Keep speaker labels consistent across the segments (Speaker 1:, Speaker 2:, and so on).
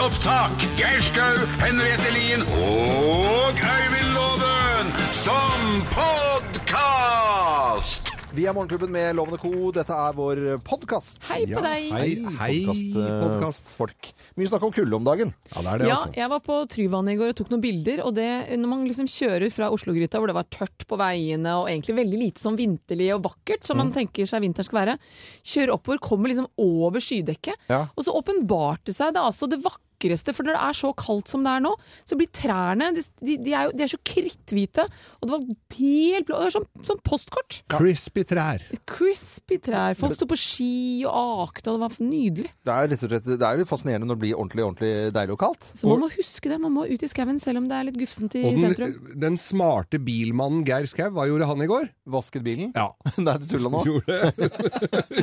Speaker 1: opptak. Geir Skau, Henriette Lien og Øyvind Loven som podkast!
Speaker 2: Vi er Morgenklubben med Lovende Co. Dette er vår podkast.
Speaker 3: Hei på deg.
Speaker 2: Hei,
Speaker 4: Hei,
Speaker 2: podcast, eh,
Speaker 4: podcast.
Speaker 2: folk. Mye snakk om kulde om dagen.
Speaker 4: Ja, det er det,
Speaker 3: Ja,
Speaker 4: altså.
Speaker 3: jeg var på Tryvannet i går og tok noen bilder, og det, når man liksom kjører fra Oslogryta hvor det var tørt på veiene og egentlig veldig lite sånn vinterlig og vakkert, som man tenker seg vinteren skal være, kjører oppover, kommer liksom over skydekket,
Speaker 2: Ja.
Speaker 3: og så åpenbarte seg det altså det vakreste, for når det er så kaldt som det er nå, så blir trærne, de, de, de, er, jo, de er så kritthvite, og det var helt blå, det var sånn, sånn postkort.
Speaker 4: Crispy trær.
Speaker 3: Crispy trær, folk sto på ski og akte, og det var nydelig.
Speaker 2: Det er, rett og slett, det er litt fascinerende når det blir ordentlig ordentlig deilig og kaldt.
Speaker 3: Så man må huske det, man må ut i skauen selv om det er litt gufsent i
Speaker 4: Og den,
Speaker 3: sentrum.
Speaker 4: den smarte bilmannen Geir Skau, hva gjorde han i går?
Speaker 2: Vasket bilen?
Speaker 4: Ja.
Speaker 2: Nei, du tulla nå.
Speaker 4: Gjorde det?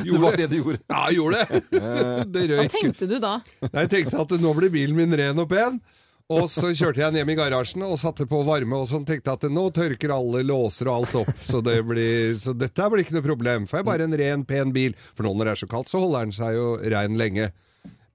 Speaker 2: Det var det du gjorde.
Speaker 4: Ja, gjorde det! Det
Speaker 3: Hva
Speaker 4: røyk.
Speaker 3: tenkte du da?
Speaker 4: Nei, Jeg tenkte at nå blir bilen min ren og pen. Og så kjørte jeg den hjem i garasjen og satte på varme og sånn. Tenkte at nå tørker alle låser og alt opp, så, det blir, så dette blir ikke noe problem. For jeg er bare en ren, pen bil. For nå når det er så kaldt, så holder den seg jo rein lenge.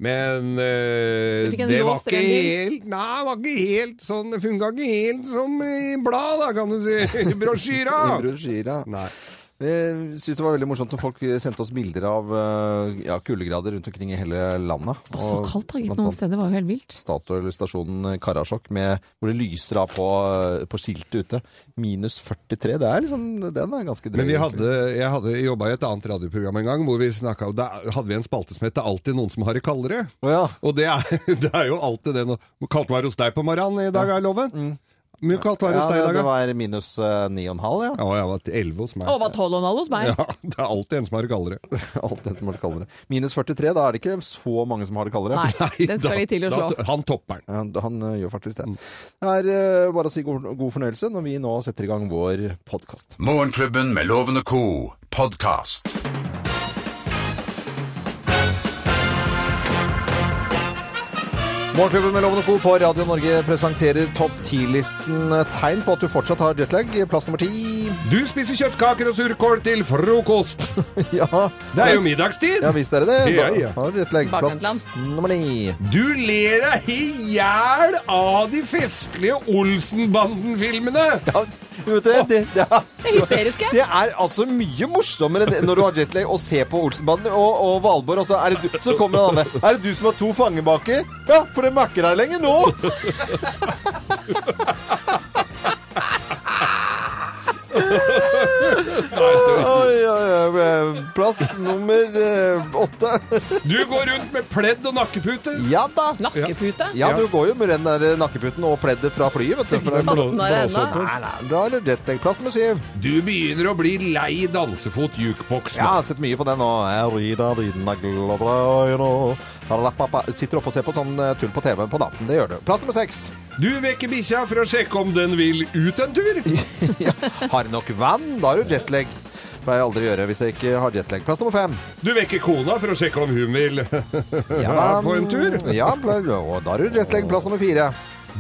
Speaker 4: Men eh,
Speaker 3: Du fikk en
Speaker 4: det var
Speaker 3: låst
Speaker 4: ikke
Speaker 3: ren bil?
Speaker 4: helt Nei, det var ikke helt sånn Det funka ikke helt som i blad, da, kan du si. I brosjyra.
Speaker 2: Brosjyra. Jeg
Speaker 4: Nei.
Speaker 2: syns Eh, det var veldig morsomt når folk sendte oss bilder av eh, ja, kuldegrader rundt omkring i hele landet.
Speaker 3: Å, Så
Speaker 2: Og
Speaker 3: kaldt da, gitt
Speaker 2: blant
Speaker 3: noen
Speaker 2: annet
Speaker 3: steder. Det var jo helt vilt.
Speaker 2: Statoil-stasjonen eh, Karasjok, med, hvor det lyser av på, eh, på skiltet ute. Minus 43. Det er liksom, den er ganske drøy.
Speaker 4: Men vi
Speaker 2: egentlig.
Speaker 4: hadde, jeg hadde jobba i et annet radioprogram en gang, hvor vi snakket, om- da hadde vi en spalte som het 'Det er alltid noen som har det kaldere'.
Speaker 2: Å ja.
Speaker 4: Og det er, det er jo alltid det nå. Hvor kaldt var det hos deg på morgenen i dag, er loven? Mye kaldt var det
Speaker 2: Mm. ja,
Speaker 4: hos deg i
Speaker 2: det,
Speaker 4: dag,
Speaker 2: det
Speaker 4: ja.
Speaker 2: var minus eh, 9,5, ja.
Speaker 4: Ja, jeg var til 11 hos meg.
Speaker 3: Å, var tolv og en halv hos meg.
Speaker 4: Ja, det er alltid en som har det kaldere.
Speaker 2: Alt det som har det kaldere. Minus 43, da er det ikke så mange som har det kaldere.
Speaker 3: Nei, den skal
Speaker 4: da-
Speaker 3: litt til å
Speaker 4: da-
Speaker 3: slå.
Speaker 4: Han topper den.
Speaker 2: Ja, Han eh, gjør faktisk det. Det er eh, bare å si god, god fornøyelse når vi nå setter i gang vår podkast.
Speaker 1: Morgenklubben med Loven og Co. podkast.
Speaker 2: Morgenklubben med Loven og Co. på Radio Norge presenterer topp 10-listen tegn på at du fortsatt har jetlag. Plass nummer ti.
Speaker 4: Du spiser kjøttkaker og surkål til frokost.
Speaker 2: ja.
Speaker 4: Det er jo middagstid.
Speaker 2: ja, visst er det det.
Speaker 4: Ja, ja.
Speaker 2: Da har du jetlag. Plass
Speaker 3: Bakvendtland.
Speaker 2: nummer ni.
Speaker 4: Du ler deg i hjel av de festlige Olsenbanden-filmene.
Speaker 2: Ja, vet du, det, det, er-
Speaker 3: Det er hysteriske.
Speaker 2: Det er altså mye morsommere enn det- når du har jetlag og ser på Olsenbanden og, og Valborg, og så, er det du, så kommer den andre. Er det du som har to fangebaker? Ja, for det makker deg lenge nå! Oi, oi, oi. Plass nummer eh, åtte.
Speaker 4: Du går rundt med pledd og nakkepute.
Speaker 2: Ja da.
Speaker 3: Nakkepute.
Speaker 2: Ja, du går jo med den der nakkeputen og pleddet fra flyet, vet du. For det er blå.
Speaker 3: Katten har ennå.
Speaker 2: Nei, nei, Da er det jetlag. Plass nummer syv.
Speaker 4: Du begynner å bli lei dansefot jukebox.
Speaker 2: Ja, jeg har sett mye på den nå. Jeg rider dine glabrai nå. Rappappa. Sitter oppe og ser på sånn eh, tull på TV på natten. Det gjør du. Plass nummer seks.
Speaker 4: Du vekker bikkja for å sjekke om den vil ut en tur.
Speaker 2: Ja. Har nok vann? Da har du jetlag. Pleier jeg aldri å gjøre hvis jeg ikke har jetlag. Plass nummer fem.
Speaker 4: Du vekker kona for å sjekke om hun vil ja, på en tur.
Speaker 2: Ja, pleier- og da har du jetlag. Plass nummer fire.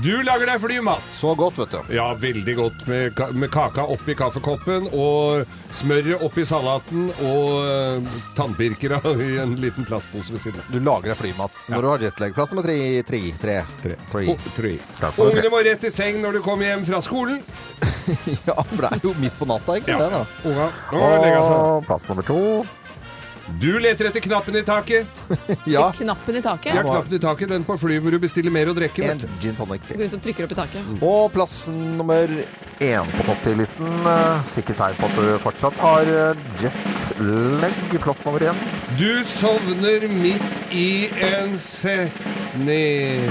Speaker 4: Du lager deg flymat.
Speaker 2: Så godt, vet du.
Speaker 4: Ja, veldig godt med, ka- med kaka oppi kaffekoppen og smøret oppi salaten og uh, tannpirkere i en liten plastpose ved siden av.
Speaker 2: Du lager deg flymat når du har jetlag. Plass nummer tre. Tre. Tre.
Speaker 4: Tre.
Speaker 2: Tre.
Speaker 4: Og- tre.
Speaker 2: Plass nummer tre.
Speaker 4: Ungene må rett i seng når du kommer hjem fra skolen.
Speaker 2: Ja, for det er jo midt på natta, ikke det? da?
Speaker 4: Unga, nå legger seg.
Speaker 2: Og plass nummer to.
Speaker 4: Du leter etter knappen i taket.
Speaker 2: Ja.
Speaker 3: Knappen i
Speaker 4: Ja,
Speaker 3: taket.
Speaker 4: knappen i taket, den på flyet hvor du bestiller mer å drikke.
Speaker 2: En
Speaker 4: vet du.
Speaker 2: gin tonic til.
Speaker 3: Går rundt og trykker opp i taket.
Speaker 2: Og plass nummer én på topp 10-listen. eh, Sikkert tegn på at du fortsatt har eh, jetlag. Plass nummer én.
Speaker 4: Du sovner midt i en setning.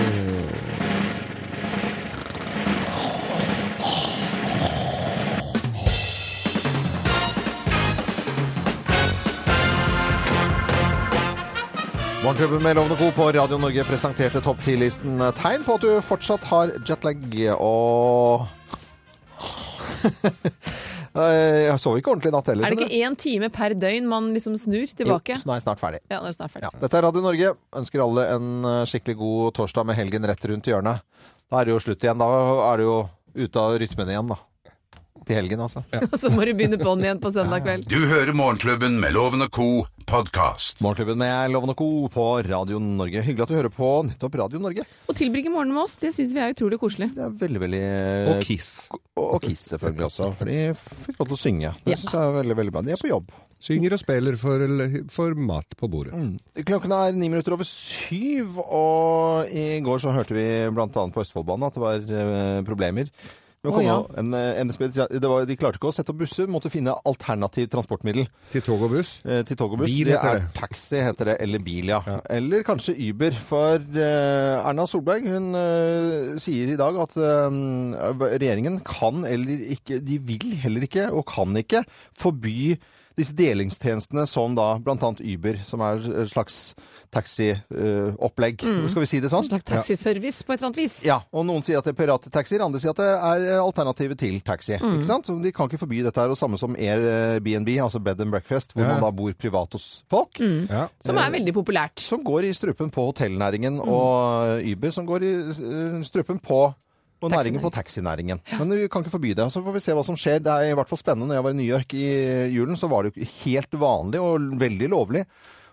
Speaker 2: Morgenklubben med Lovende Co. på Radio Norge presenterte topp 10-listen eh, tegn på at du fortsatt har jetlag. Og Eh, Jeg sov ikke ordentlig i natt heller.
Speaker 3: Er det
Speaker 2: skjønner du.
Speaker 3: ikke én time per døgn man liksom snur tilbake?
Speaker 2: Jo, så nå er jeg snart ferdig.
Speaker 3: Ja, nå er det snart
Speaker 2: Ja,
Speaker 3: ferdig.
Speaker 2: dette er Radio Norge. Ønsker alle en eh, skikkelig god torsdag med helgen rett rundt hjørnet. Da er det jo slutt igjen. Da er det jo ute av rytmen igjen, da. Til helgen, altså.
Speaker 3: Og så må du begynne på'n igjen på søndag kveld.
Speaker 1: Du hører Morgenklubben med Loven og Co. podkast.
Speaker 2: Morgenklubben med Loven og Co. på Radio Norge. Hyggelig at du hører på nettopp Radio Norge.
Speaker 3: Å tilbringe morgenen med oss, det syns vi er utrolig koselig.
Speaker 2: Det er veldig, veldig
Speaker 4: Og Kiss.
Speaker 2: Og, og Kiss selvfølgelig også, for de fikk lov til å synge. Det synes jeg er veldig, veldig bra. De er på jobb.
Speaker 4: Synger og spiller for, for mat på bordet.
Speaker 2: Mm. Klokken er ni minutter over syv, og i går så hørte vi bl.a. på Østfoldbanen at det var eh, problemer. Med å
Speaker 3: Å,
Speaker 2: komme-
Speaker 3: ja.
Speaker 2: en, eh, NSB, det var, de klarte ikke å sette opp busser, måtte finne alternativ transportmiddel
Speaker 4: Til tog og buss.
Speaker 2: eh, til tog og buss.
Speaker 4: Bil
Speaker 2: det
Speaker 4: heter
Speaker 2: er
Speaker 4: det.
Speaker 2: taxi, heter det, eller bil, ja. Eller kanskje Uber. For eh, Erna Solberg hun eh, sier i dag at eh, regjeringen kan eller ikke De vil heller ikke, og kan ikke, forby disse delingstjenestene som da bl.a. Uber, som er et slags taxiopplegg. Skal vi si det sånn?
Speaker 3: Mm. En slags taxiservice på et eller annet vis.
Speaker 2: Ja, og noen sier at det er pirattaxier, andre sier at det er eh, alternativet til taxi.
Speaker 4: Mm.
Speaker 2: Ikke sant? Så De kan ikke forby dette her, og samme som Airbnb, altså bed and breakfast, hvor
Speaker 4: Ja. Mm.
Speaker 2: man da bor privat hos folk,
Speaker 4: Ja.
Speaker 3: Som er veldig populært.
Speaker 2: som går i strupen på hotellnæringen,
Speaker 4: Mm.
Speaker 2: og Uber som går i eh, strupen på og næringen på taxinæringen. Men vi kan ikke forby det. Så får vi se hva som skjer. Det er i hvert fall spennende. Når jeg var i New York i julen, så var det jo helt vanlig og veldig lovlig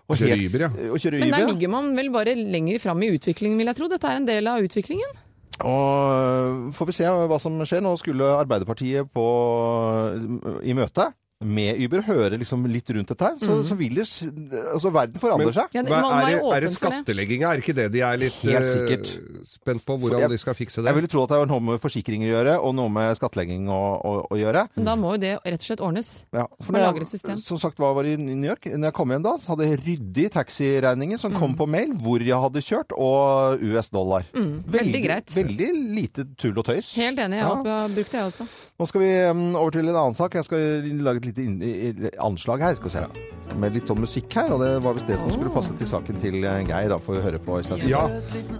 Speaker 2: å
Speaker 4: Kjøre
Speaker 2: helt-
Speaker 4: Uber, ja.
Speaker 2: å kjøre
Speaker 3: Men
Speaker 2: Uber,
Speaker 3: der
Speaker 2: ja.
Speaker 3: ligger man vel bare lenger fram i utviklingen, vil jeg tro. Dette er en del av utviklingen.
Speaker 2: Og eh, får vi se hva som skjer. Nå skulle Arbeiderpartiet på, i møte med Uber høre liksom litt rundt dette her. Så, så vil det s- Altså, verden forandrer
Speaker 4: Mhm. Men-
Speaker 2: seg.
Speaker 3: Ja, det-
Speaker 4: Hva,
Speaker 3: man må
Speaker 4: er,
Speaker 3: være
Speaker 4: det, er det
Speaker 3: åpen for det.
Speaker 4: skattelegginga? Er ikke det de er litt
Speaker 2: Helt
Speaker 4: eh,
Speaker 2: sikkert.
Speaker 4: spent på
Speaker 2: For
Speaker 4: hvordan
Speaker 2: jeg-
Speaker 4: de skal fikse det?
Speaker 2: Jeg ville tro at det var noe med forsikringer å gjøre, og noe med skattlegging å, å, å gjøre.
Speaker 3: Men da må jo det rett og slett ordnes.
Speaker 2: Ja, for
Speaker 3: Man
Speaker 2: når
Speaker 3: lager et system.
Speaker 2: Som sagt, hva var i New York? Når jeg kom hjem da, så hadde jeg ryddige taxiregninger som
Speaker 3: Mm.
Speaker 2: kom på mail hvor jeg hadde kjørt, og US-dollar.
Speaker 3: Mm. veldig greit.
Speaker 2: Veldig lite tull og tøys.
Speaker 3: Helt enig, jeg
Speaker 2: Ja.
Speaker 3: har har brukt det jeg også.
Speaker 2: Nå skal vi um, over til en annen sak. Jeg skal lage et lite inn- i- i- anslag her. Skal vi se. Med litt sånn musikk her, og det var visst det som skulle passe til saken til eh, Geir. Da får vi høre på. i stedet.
Speaker 4: Ja,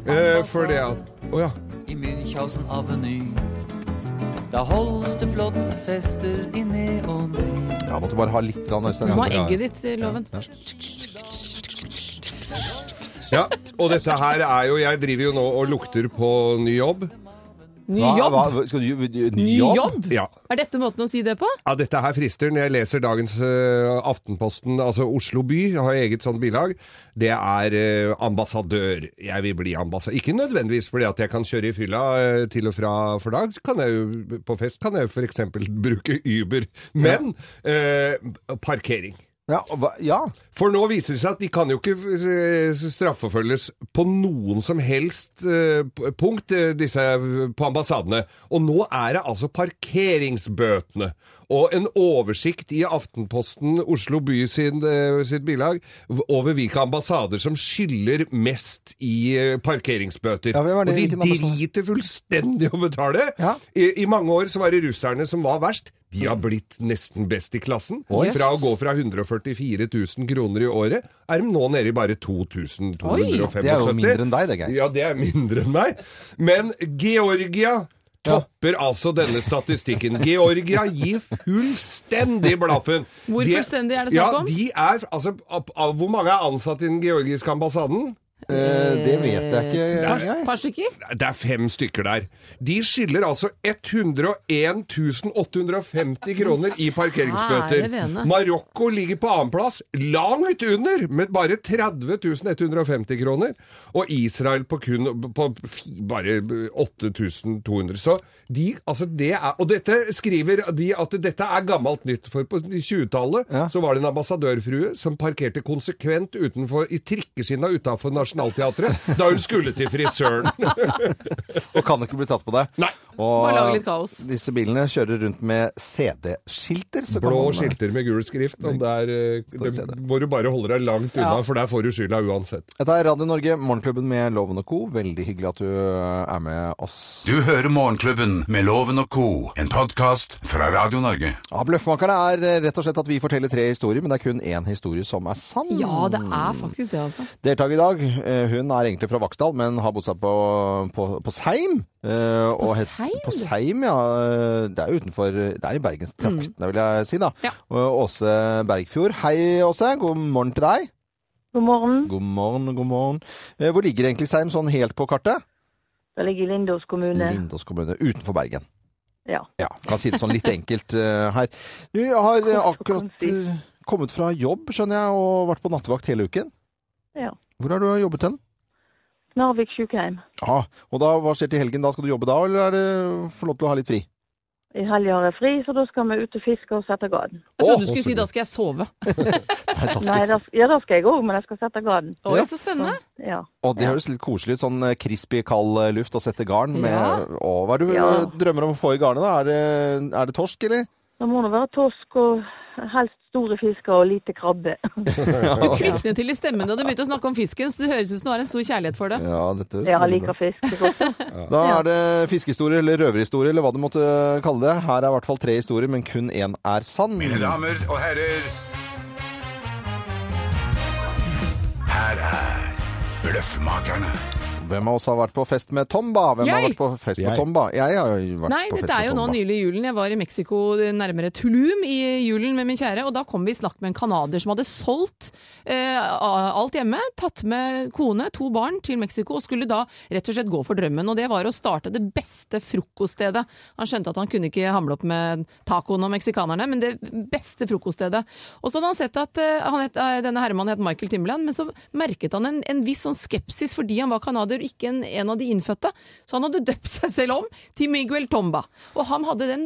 Speaker 4: eh,
Speaker 3: Altså-
Speaker 4: for det at Å ja.
Speaker 5: i Münchhausen Avenue. Da holdes det flotte fester i neonlys.
Speaker 2: Ja, måtte bare ha litt grann, Øystein.
Speaker 3: Du må ha
Speaker 4: Ja.
Speaker 3: egget ditt, eh, Loven.
Speaker 4: ja. Og dette her er jo Jeg driver jo nå og lukter på ny jobb.
Speaker 3: Ny
Speaker 2: Hva-
Speaker 3: jobb!
Speaker 2: hva- Skal du, ny,
Speaker 3: Ny
Speaker 2: jobb?
Speaker 3: jobb?
Speaker 4: Ja.
Speaker 3: Er dette måten å si det på?
Speaker 4: Ja, dette her frister når jeg leser dagens eh, Aftenposten, altså Oslo by, har eget sånt bilag. Det er eh, ambassadør. Jeg vil bli ambassadør. Ikke nødvendigvis fordi at jeg kan kjøre i fylla eh, til og fra for dag. Kan jeg jo, på fest kan jeg jo f.eks. bruke Uber. Men eh, parkering.
Speaker 2: Ja, og hva- ja.
Speaker 4: For nå viser det seg at de kan jo ikke eh, straffeforfølges på noen som helst eh, p- punkt, eh, disse på ambassadene. Og nå er det altså parkeringsbøtene. Og en oversikt i Aftenposten Oslo by sin, eh, sitt bilag over hvilke ambassader som skylder mest i eh, parkeringsbøter.
Speaker 2: Ja, hvem er det?
Speaker 4: og de
Speaker 2: Hvilken ambassade?
Speaker 4: driter fullstendig å betale.
Speaker 2: Ja.
Speaker 4: I, I mange år så var det russerne som var verst. De har blitt nesten best i klassen.
Speaker 2: Oi.
Speaker 4: Fra å gå fra 144 000 kroner i året, er de nå nede i bare 2275.
Speaker 2: Det er jo mindre enn deg, det, Geir.
Speaker 4: Ja, det er mindre enn meg. Men Georgia topper altså denne statistikken. Georgia gir fullstendig blaffen.
Speaker 3: Hvor
Speaker 4: De-
Speaker 3: fullstendig er det snakk om?
Speaker 4: Ja, de er, altså, av, av, hvor mange er ansatt i den georgiske ambassaden?
Speaker 2: Eh, det vet jeg ikke.
Speaker 3: Et
Speaker 2: Geir.
Speaker 3: par stykker?
Speaker 4: Det er fem stykker der. De skylder altså 101 850 kroner i
Speaker 3: Kjære
Speaker 4: parkeringsbøter.
Speaker 3: vene.
Speaker 4: Marokko ligger på annenplass, langt under, med bare 30 150 kroner. Og Israel på kun på fi- bare 8200. Så de, altså det er Og dette skriver de at dette er gammelt nytt, for på 20-tallet
Speaker 2: Ja.
Speaker 4: så var det en ambassadørfrue som parkerte konsekvent utenfor, i trikkeskinna utafor Nationaltheatret da hun skulle til frisøren.
Speaker 2: Og kan ikke bli tatt på det.
Speaker 4: Nei.
Speaker 2: Og
Speaker 3: Bare lage litt kaos.
Speaker 2: disse bilene kjører rundt med CD-skilter. så kan
Speaker 4: Blå
Speaker 2: man-
Speaker 4: skilter med gul skrift, og der eh,
Speaker 2: vi se
Speaker 4: det,
Speaker 2: det.
Speaker 4: må du bare holde deg langt unna, for der får du skylda uansett.
Speaker 2: Dette er Radio Norge, Morgenklubben med Loven og Co. Veldig hyggelig at du eh, er med oss.
Speaker 1: Du hører Morgenklubben med Loven og co., en podkast fra Radio Norge.
Speaker 2: Ja, Bløffmakerne er eh, rett og slett at vi forteller tre historier, men det er kun én historie som er sann.
Speaker 3: Ja, det er faktisk det, altså.
Speaker 2: Deltaker i dag, eh, hun er egentlig fra Vaksdal, men har bodd seg på, på, på Seim. På
Speaker 3: Seim?
Speaker 2: På Seim, ja. eh, Det er utenfor Det er i Bergenstrakten, det vil jeg si, da.
Speaker 3: Mm. Ja.
Speaker 2: Og Åse Bergfjord. Hei, Åse. God morgen til deg.
Speaker 6: God morgen.
Speaker 2: God morgen, god morgen. Eh, Hvor ligger egentlig Seim sånn helt på kartet?
Speaker 6: Det ligger i Lindås kommune.
Speaker 2: Lindås kommune, utenfor Bergen.
Speaker 6: ja.
Speaker 2: Ja, kan si det sånn litt enkelt eh, her. Du jeg har eh,
Speaker 6: Kort og
Speaker 2: akkurat
Speaker 6: konsist.
Speaker 2: eh, kommet fra jobb, skjønner jeg, og vært på nattevakt hele uken.
Speaker 6: Ja.
Speaker 2: Hvor har du eh, jobbet hen?
Speaker 6: Narvik sykehjem.
Speaker 2: Ja, og da, hva skjer til helgen? Da skal du jobbe da, eller er det får lov til å ha litt fri?
Speaker 6: I helga har jeg fri, så da skal vi ut og fiske og sette garden.
Speaker 3: Jeg trodde
Speaker 2: Å,
Speaker 3: du skulle si 'da skal jeg sove'.
Speaker 2: Nei, da skal
Speaker 6: Nei,
Speaker 2: jeg
Speaker 6: da,
Speaker 2: si-
Speaker 6: ja, det skal jeg òg, men jeg skal sette garden.
Speaker 3: Å,
Speaker 2: Ja.
Speaker 3: så spennende.
Speaker 6: Ja.
Speaker 2: Å, det høres litt koselig ut. Sånn eh, crispy, kald eh, luft og sette garn med
Speaker 3: Ja.
Speaker 2: Å, hva er det du
Speaker 6: Ja.
Speaker 2: eh, drømmer om å få i garnet, da? Er det, er det torsk, eller?
Speaker 6: Da må det være torsk og helst store fisker og lite krabbe.
Speaker 3: Du kviknet til i stemmen da du begynte å snakke om fisken, så det høres ut som du har en stor kjærlighet for det.
Speaker 2: Ja, dette
Speaker 6: Jeg liker fisk. det godt.
Speaker 2: Da er det fiskehistorie eller røverhistorie eller hva du måtte kalle det. Her er i hvert fall tre historier, men kun én er sann.
Speaker 1: Mine damer og herrer, her er Bløffmakerne.
Speaker 2: Hvem av oss har vært på fest med Tomba? Hvem har
Speaker 3: Jeg.
Speaker 2: vært på fest med
Speaker 4: Jeg.
Speaker 2: Tomba? Jeg har jo vært
Speaker 3: Nei,
Speaker 2: på fest med Tomba.
Speaker 3: dette er jo nå nylig i julen. Jeg var i Mexico, eh, nærmere Tulum i julen med min kjære, og da kom vi i snakk med en kanader som hadde solgt eh, alt hjemme, tatt med kone, to barn, til Mexico, og skulle da rett og slett gå for drømmen. Og det var å starte det beste frokoststedet. Han skjønte at han kunne ikke hamle opp med tacoen og meksikanerne, men det beste frokoststedet. Og så hadde han sett at eh, han het, eh, denne herremannen het Michael Timberland, men så merket han en, en viss sånn skepsis fordi han var kanader og ikke en, en av de innfødte. Så han hadde døpt seg selv om til Miguel Tomba. Og han hadde den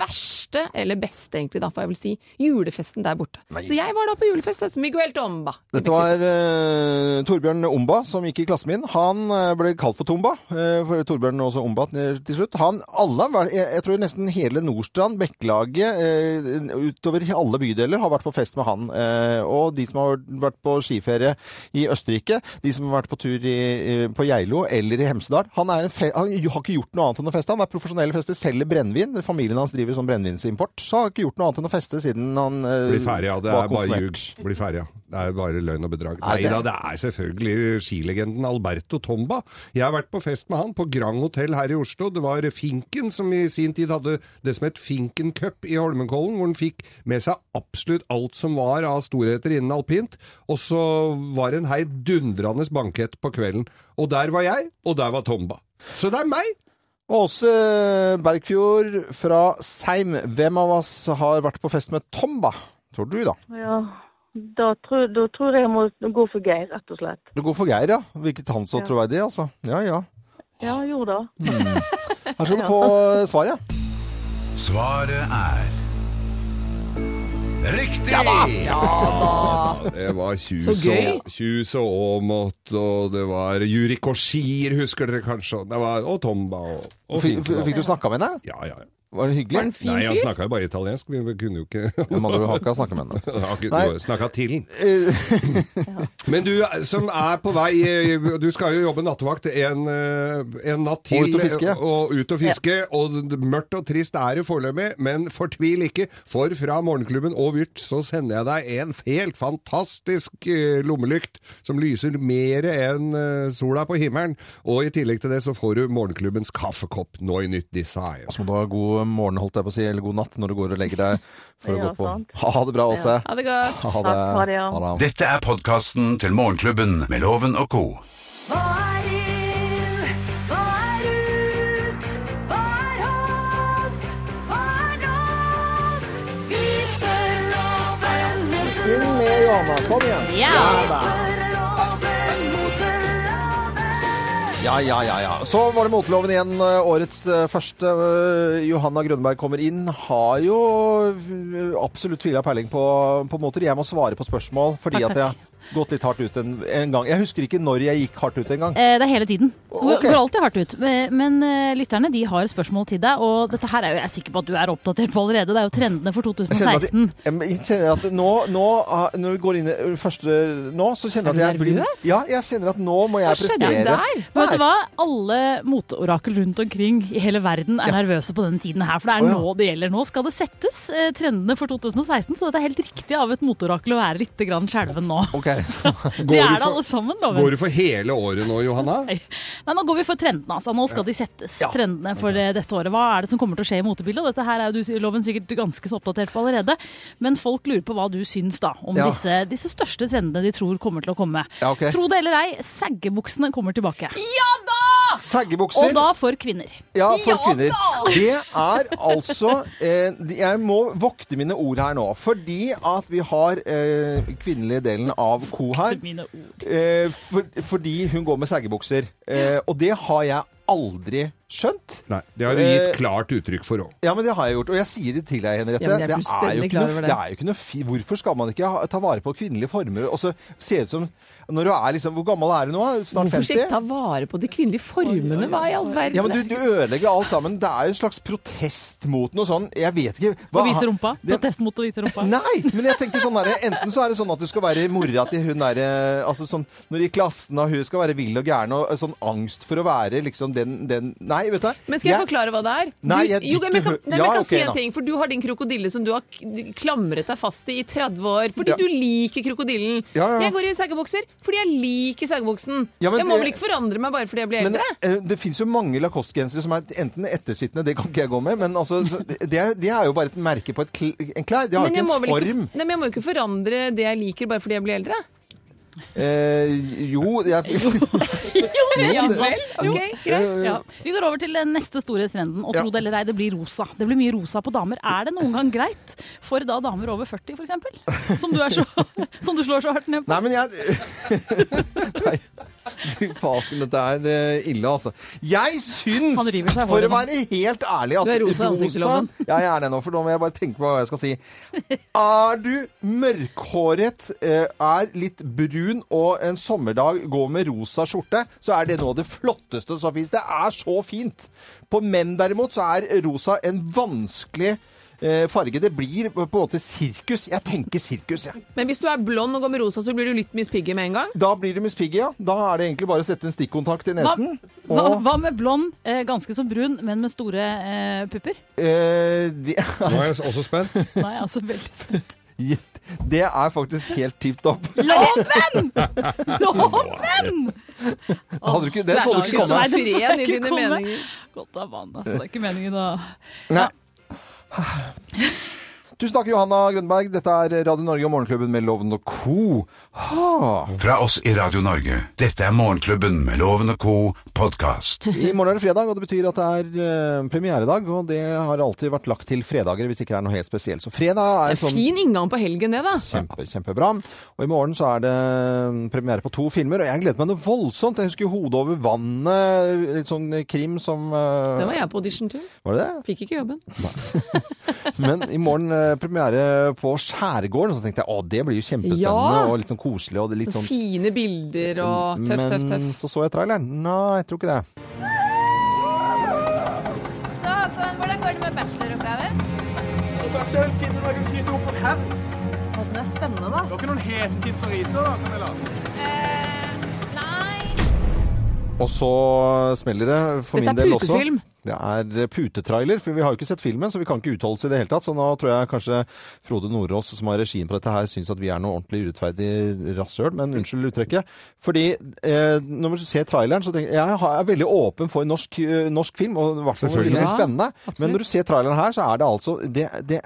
Speaker 3: verste, eller beste egentlig da, får jeg vel si, julefesten der borte. Så jeg var da på julefest hos Miguel Tomba. i
Speaker 2: Dette var eh, Torbjørn Omba, som gikk i klassen min. Han eh, ble kalt for Tomba, eh, for Torbjørn og også Omba til til slutt. Han, alle, har vært- jeg, jeg tror nesten hele Nordstrand, Bekkelaget, eh, utover i alle bydeler har vært på fest med han. Eh, og de som har vært på skiferie i Østerrike, de som har vært på tur i, eh, på Geilo eller i Hemsedal han, er en fe han har ikke gjort noe annet enn å feste. Han er profesjonell fester, selger brennevin. Familien hans driver som brennevinsimport, så han har ikke gjort noe annet enn å feste siden han eh,
Speaker 4: Bli ferdig, ja. Det
Speaker 2: var
Speaker 4: er bare
Speaker 2: konfirmert.
Speaker 4: ljug. Bli ferdig, ja. Det er bare løgn og bedrag.
Speaker 2: Er
Speaker 4: Nei
Speaker 2: det-
Speaker 4: da, det er selvfølgelig skilegenden Alberto Tomba. Jeg har vært på fest med han på Grand Hotel her i Oslo. Det var Finken som i sin tid hadde det som het Finken Cup i Holmenkollen, hvor han fikk med seg absolutt alt som var av storheter innen alpint. Og så var det en heidundrende bankett på kvelden. Og der var jeg, og der var Tomba. Så det er meg!
Speaker 2: Åse Bergfjord fra Seim, hvem av oss har vært på fest med Tomba? Tror du, da.
Speaker 6: Ja. Da, tror, da tror jeg jeg må gå for Geir, rett og slett.
Speaker 2: Du går for Geir, ja. Virket han så
Speaker 6: Ja.
Speaker 2: troverdig, altså. Ja, ja.
Speaker 6: Ja, jeg gjorde det.
Speaker 2: Her skal du få eh, svar, ja.
Speaker 1: Svaret er Riktig!
Speaker 4: Det var tjus
Speaker 3: Så gøy.
Speaker 4: og, tjus og Aamodt, og det var Juri Korsier, husker dere kanskje? og Det var, og Tomba og, og
Speaker 2: F f- fikk du snakka med henne?
Speaker 4: Ja, ja. ja.
Speaker 2: Var det
Speaker 3: Mexico. Var det
Speaker 2: hyggelig?
Speaker 3: en fin
Speaker 4: Nei, han
Speaker 3: fyr?
Speaker 4: snakka jo bare italiensk. Vi kunne jo ikke
Speaker 2: Men man har ikke snakka med henne. Nei.
Speaker 4: Snakka til den.
Speaker 2: Eh,
Speaker 4: Men du som er på vei eh, Du skal jo jobbe nattevakt en, eh, en natt til. eh,
Speaker 2: Og ut og fiske.
Speaker 4: Og, ut og, fiske, og d- mørkt og trist er det foreløpig, men fortvil ikke, for fra Morgenklubben og Vyrt så sender jeg deg en helt fantastisk eh, lommelykt som lyser mer enn eh, sola på himmelen. Og i tillegg til det så får du Morgenklubbens kaffekopp nå i nytt design.
Speaker 2: Så må du ha god morgen, holdt jeg på å si, eller god natt når du går og legger deg for å
Speaker 6: Ja,
Speaker 2: gå på.
Speaker 6: sant.
Speaker 2: Ha det bra, Åse.
Speaker 3: Ha det godt.
Speaker 2: Ha det.
Speaker 6: Takk, ha det, ja.
Speaker 2: Ha det.
Speaker 1: Dette er podkasten til Morgenklubben med Loven og co.
Speaker 7: Hva er inn? Hva er ut? Hva er hot? Hva er not? Vi spør loven mot
Speaker 2: Inn med Johanna. Kom igjen.
Speaker 7: Vi spør loven mot loven.
Speaker 2: Ja, ja, ja, ja. Så var det moteloven igjen. Årets eh, første. eh, Johanna Grønberg kommer inn. Har jo eh, absolutt tvila peiling på, på moter. Jeg må svare på spørsmål fordi
Speaker 8: Takk,
Speaker 2: at jeg har gått litt hardt ut en, en gang. Jeg husker ikke når jeg gikk hardt ut en gang.
Speaker 8: Eh, Det er hele tiden. Du
Speaker 2: Ok.
Speaker 8: Går alltid hardt ut. Men men, eh, lytterne de har spørsmål til deg, og dette her er jo jeg er sikker på at du er oppdatert på allerede. Det er jo trendene for
Speaker 2: Jeg kjenner at,
Speaker 8: 2016.
Speaker 2: jeg, jeg kjenner at nå, nå, ah, når vi går inn i eh, første nå, så kjenner jeg at
Speaker 3: Er
Speaker 2: jeg
Speaker 3: du
Speaker 2: blir
Speaker 3: nervøs?
Speaker 2: Ja, jeg kjenner at nå må jeg
Speaker 3: skjedde
Speaker 2: prestere.
Speaker 3: der?
Speaker 8: Men vet du
Speaker 2: Nei.
Speaker 8: hva? Alle moteorakel rundt omkring i hele verden er nervøse på denne tiden her, for det er
Speaker 2: Å, ja.
Speaker 8: nå det gjelder. Nå skal det settes eh, trendene for 2016, så dette er helt riktig av et moteorakel å være litt grann skjelven nå.
Speaker 2: Ok.
Speaker 8: Det
Speaker 4: du
Speaker 8: er det
Speaker 4: for-
Speaker 8: alle sammen,
Speaker 4: Går
Speaker 8: loven.
Speaker 4: du for hele året nå, Johanna?
Speaker 8: Nei, Nei, nå går vi for trendene, altså. Nå skal de settes,
Speaker 2: Ja.
Speaker 8: trendene for eh, dette året. Hva er det som kommer til å skje i motebildet? Og Dette her er jo du, loven sikkert ganske så oppdatert på allerede, men folk lurer på hva du syns da, om
Speaker 2: Ja.
Speaker 8: disse, disse største trendene de tror kommer til å komme.
Speaker 2: Ja, ok.
Speaker 8: Tro det eller ei, saggebuksene kommer tilbake.
Speaker 3: Ja da!
Speaker 2: Saggebukser.
Speaker 8: Og da for kvinner.
Speaker 2: Ja, for
Speaker 8: Ja
Speaker 2: kvinner.
Speaker 8: da!
Speaker 2: Det er altså eh, de- Jeg må vokte mine ord her nå. Fordi at vi har eh, kvinnelige delen av ko her.
Speaker 8: Mine ord.
Speaker 2: Eh, for, fordi hun går med saggebukser. Eh, og det har jeg aldri skjønt.
Speaker 4: Nei, det har du gitt
Speaker 2: Eh,
Speaker 4: klart uttrykk for òg.
Speaker 2: Ja, men det har jeg gjort, og jeg sier det til deg, Henriette.
Speaker 3: Ja, men jeg er
Speaker 2: det, er jo
Speaker 3: fullstendig
Speaker 2: ikke
Speaker 3: klar
Speaker 2: noe,
Speaker 3: over
Speaker 2: det.
Speaker 3: det.
Speaker 2: er jo ikke noe fi... Hvorfor skal man ikke ha, ta vare på kvinnelige former og så se ut som Når du er liksom Hvor gammel er du nå? Snart
Speaker 3: Hvorfor skal
Speaker 2: 50?
Speaker 3: ikke ta vare på de kvinnelige formene? Hva i all verden?
Speaker 2: Ja, men du, du ødelegger alt sammen. Det er jo en slags protest mot noe sånn. Jeg vet ikke
Speaker 8: Å vise rumpa.
Speaker 2: Det-
Speaker 8: Protest mot å vise rumpa.
Speaker 2: Nei, men jeg tenker sånn der, enten så er det sånn at du skal være mora til hun der eh, altså sånn, Når i klassen og hun skal være vill og gæren og eh, sånn angst for å være liksom den, den Nei, vet du hva?
Speaker 3: Men skal jeg forklare hva det er?
Speaker 2: Nei,
Speaker 3: Du-
Speaker 2: jeg-
Speaker 3: jo, men jeg kan, nei, men
Speaker 2: Ja,
Speaker 3: jeg kan
Speaker 2: ok,
Speaker 3: si
Speaker 2: da.
Speaker 3: en ting, for Du har din krokodille som du har k- klamret deg fast i i 30 år fordi
Speaker 2: Ja.
Speaker 3: du liker krokodillen.
Speaker 2: Ja, ja, ja.
Speaker 3: Jeg går i saggebukser fordi jeg liker saggebuksen.
Speaker 2: Ja, men
Speaker 3: jeg må
Speaker 2: det-
Speaker 3: vel ikke forandre meg bare fordi jeg blir
Speaker 2: Men
Speaker 3: eldre?
Speaker 2: eh, det fins jo mange lacoste-gensere som er enten ettersittende, det kan ikke jeg gå med, men altså så Det, det er jo bare et merke på et kl en klær. Det har jo
Speaker 3: jeg må
Speaker 2: ikke en
Speaker 3: vel ikke,
Speaker 2: form.
Speaker 3: nei, men jeg må jo ikke forandre det jeg liker bare fordi jeg blir eldre.
Speaker 2: Eh, jo, jeg
Speaker 3: Ja
Speaker 2: det- Eh.
Speaker 3: vel, ok, greit.
Speaker 8: Ja. Vi går over til den neste store trenden, og
Speaker 2: Mm.
Speaker 8: tro
Speaker 2: Ja.
Speaker 8: det eller ei, det blir rosa. Det blir mye rosa på damer. Er det noen gang greit for da damer over 40 f.eks.? Som, du er så- som du slår så hardt ned på?
Speaker 2: Nei, men jeg Nei. Fy fasken, dette er eh, ille, altså. Jeg syns,
Speaker 8: Han river seg i
Speaker 2: for å
Speaker 8: håret nå.
Speaker 2: være helt ærlig at
Speaker 3: Du er rosa i ansiktet, Loven.
Speaker 2: Ja, jeg er det nå, for nå må jeg bare tenke på hva jeg skal si. Er du mørkhåret, eh, er litt brun og en sommerdag går med rosa skjorte, så er det noe av det flotteste som fins. Det er så fint. På menn derimot så er rosa en vanskelig eh, farge. Det blir på en måte sirkus. Jeg tenker sirkus, jeg. Ja.
Speaker 3: Men hvis du er blond og går med rosa, så blir du litt Miss Piggy med en gang?
Speaker 2: Da blir det Miss Piggy, ja. Da er det egentlig bare å sette en stikkontakt i nesen.
Speaker 8: Hva,
Speaker 2: Og
Speaker 8: hva med blond, eh, ganske så brun, men med store eh, pupper?
Speaker 2: eh, det,
Speaker 4: Nå er jeg også spent.
Speaker 8: Nei, altså veldig
Speaker 2: det er faktisk helt tipp topp.
Speaker 8: Loven! Loven!
Speaker 2: Hadde du ikke det,
Speaker 3: Det er
Speaker 2: så
Speaker 3: så
Speaker 2: hadde du
Speaker 3: kult. Nei, den så jeg i
Speaker 2: ikke kommet.
Speaker 8: ikke
Speaker 3: dine
Speaker 8: komme.
Speaker 3: meninger.
Speaker 8: Godt av vann, altså. Det er ikke meningen å
Speaker 2: Nei. Tusen takk, Johanna Grønberg. Dette er Radio Norge og Morgenklubben med Loven og co.
Speaker 1: Fra oss i Radio Norge. Dette er Morgenklubben med Loven og co. podkast.
Speaker 2: I morgen er det fredag, og det betyr at det er eh, premieredag. Og det har alltid vært lagt til fredager hvis det ikke er noe helt spesielt. Så fredag er sånn
Speaker 3: Fin inngang på helgen, det, da.
Speaker 2: Kjempe, kjempebra. Og i morgen så er det mm, premiere på to filmer, og jeg gleder meg noe voldsomt. Jeg husker 'Hodet over vannet', litt sånn krim som eh,
Speaker 3: Den var jeg på audition til.
Speaker 2: Var det det?
Speaker 3: Fikk ikke jobben.
Speaker 2: Men i morgen eh, premiere på Skjærgården, så tenkte jeg å, det blir jo kjempespennende
Speaker 3: Ja.
Speaker 2: og litt sånn koselig. og det er litt sånn...
Speaker 3: Fine bilder og tøff,
Speaker 2: Men
Speaker 3: tøff, tøff.
Speaker 2: så så jeg traileren. Nei, jeg tror ikke det.
Speaker 7: Så hvordan går det med bacheloroppgaven? Den er spennende, da. Eh, nei.
Speaker 2: Og så smeller det for
Speaker 3: Dette
Speaker 2: min
Speaker 3: er
Speaker 2: del også.
Speaker 3: putefilm.
Speaker 2: Det er eh, putetrailer, for vi har jo ikke sett filmen, så vi kan ikke uttale oss i det hele tatt. Så nå tror jeg kanskje Frode Nordås, som har regien på dette her, syns at vi er noe ordentlig urettferdig rasshøl, men unnskyld uttrykket. Fordi eh, når man ser traileren, så tenker jeg jeg har- er veldig åpen for norsk, eh, norsk film, og i hvert fall vil det bli
Speaker 3: Selvfølgelig.
Speaker 2: spennende.
Speaker 3: Ja, absolutt.
Speaker 2: men når du ser traileren her, så er det altså det, det,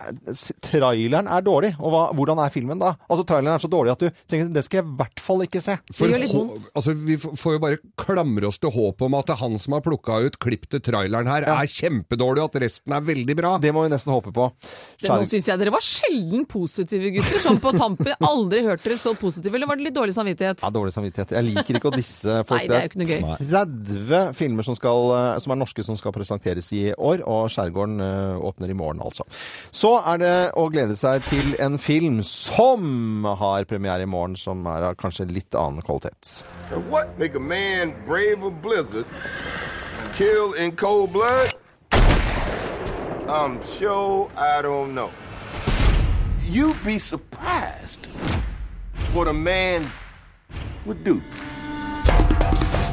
Speaker 2: Traileren er dårlig, og hva, hvordan er filmen da? Altså, traileren er så dårlig at du tenker det skal jeg i hvert fall ikke se.
Speaker 4: For,
Speaker 3: Det gjør litt
Speaker 4: hå-
Speaker 3: vondt.
Speaker 4: altså, vi f- får jo bare klamre oss til håpet om at det er han som har plukka ut klipp til traileren her, er kjempedårlig, og at resten er veldig bra.
Speaker 2: Det må vi nesten håpe på.
Speaker 3: Nå
Speaker 2: Skjær-
Speaker 3: syns jeg dere var sjelden positive, gutter. Sånn på tampen. Aldri hørt dere så positive. Eller var det litt dårlig samvittighet?
Speaker 2: Ja, dårlig samvittighet. Jeg liker ikke å disse folk.
Speaker 3: Nei, det er jo ikke noe gøy.
Speaker 2: Nei. 30 filmer som, skal, eh, som er norske som skal presenteres i år, og Skjærgården eh, åpner i morgen, altså. Så er det å glede seg til en film som har premiere i morgen, som er av kanskje litt annen kvalitet.
Speaker 9: What make a man brave a blizzard, kill in cold blood? I'm sure I don't know. You'd be surprised what a man would do.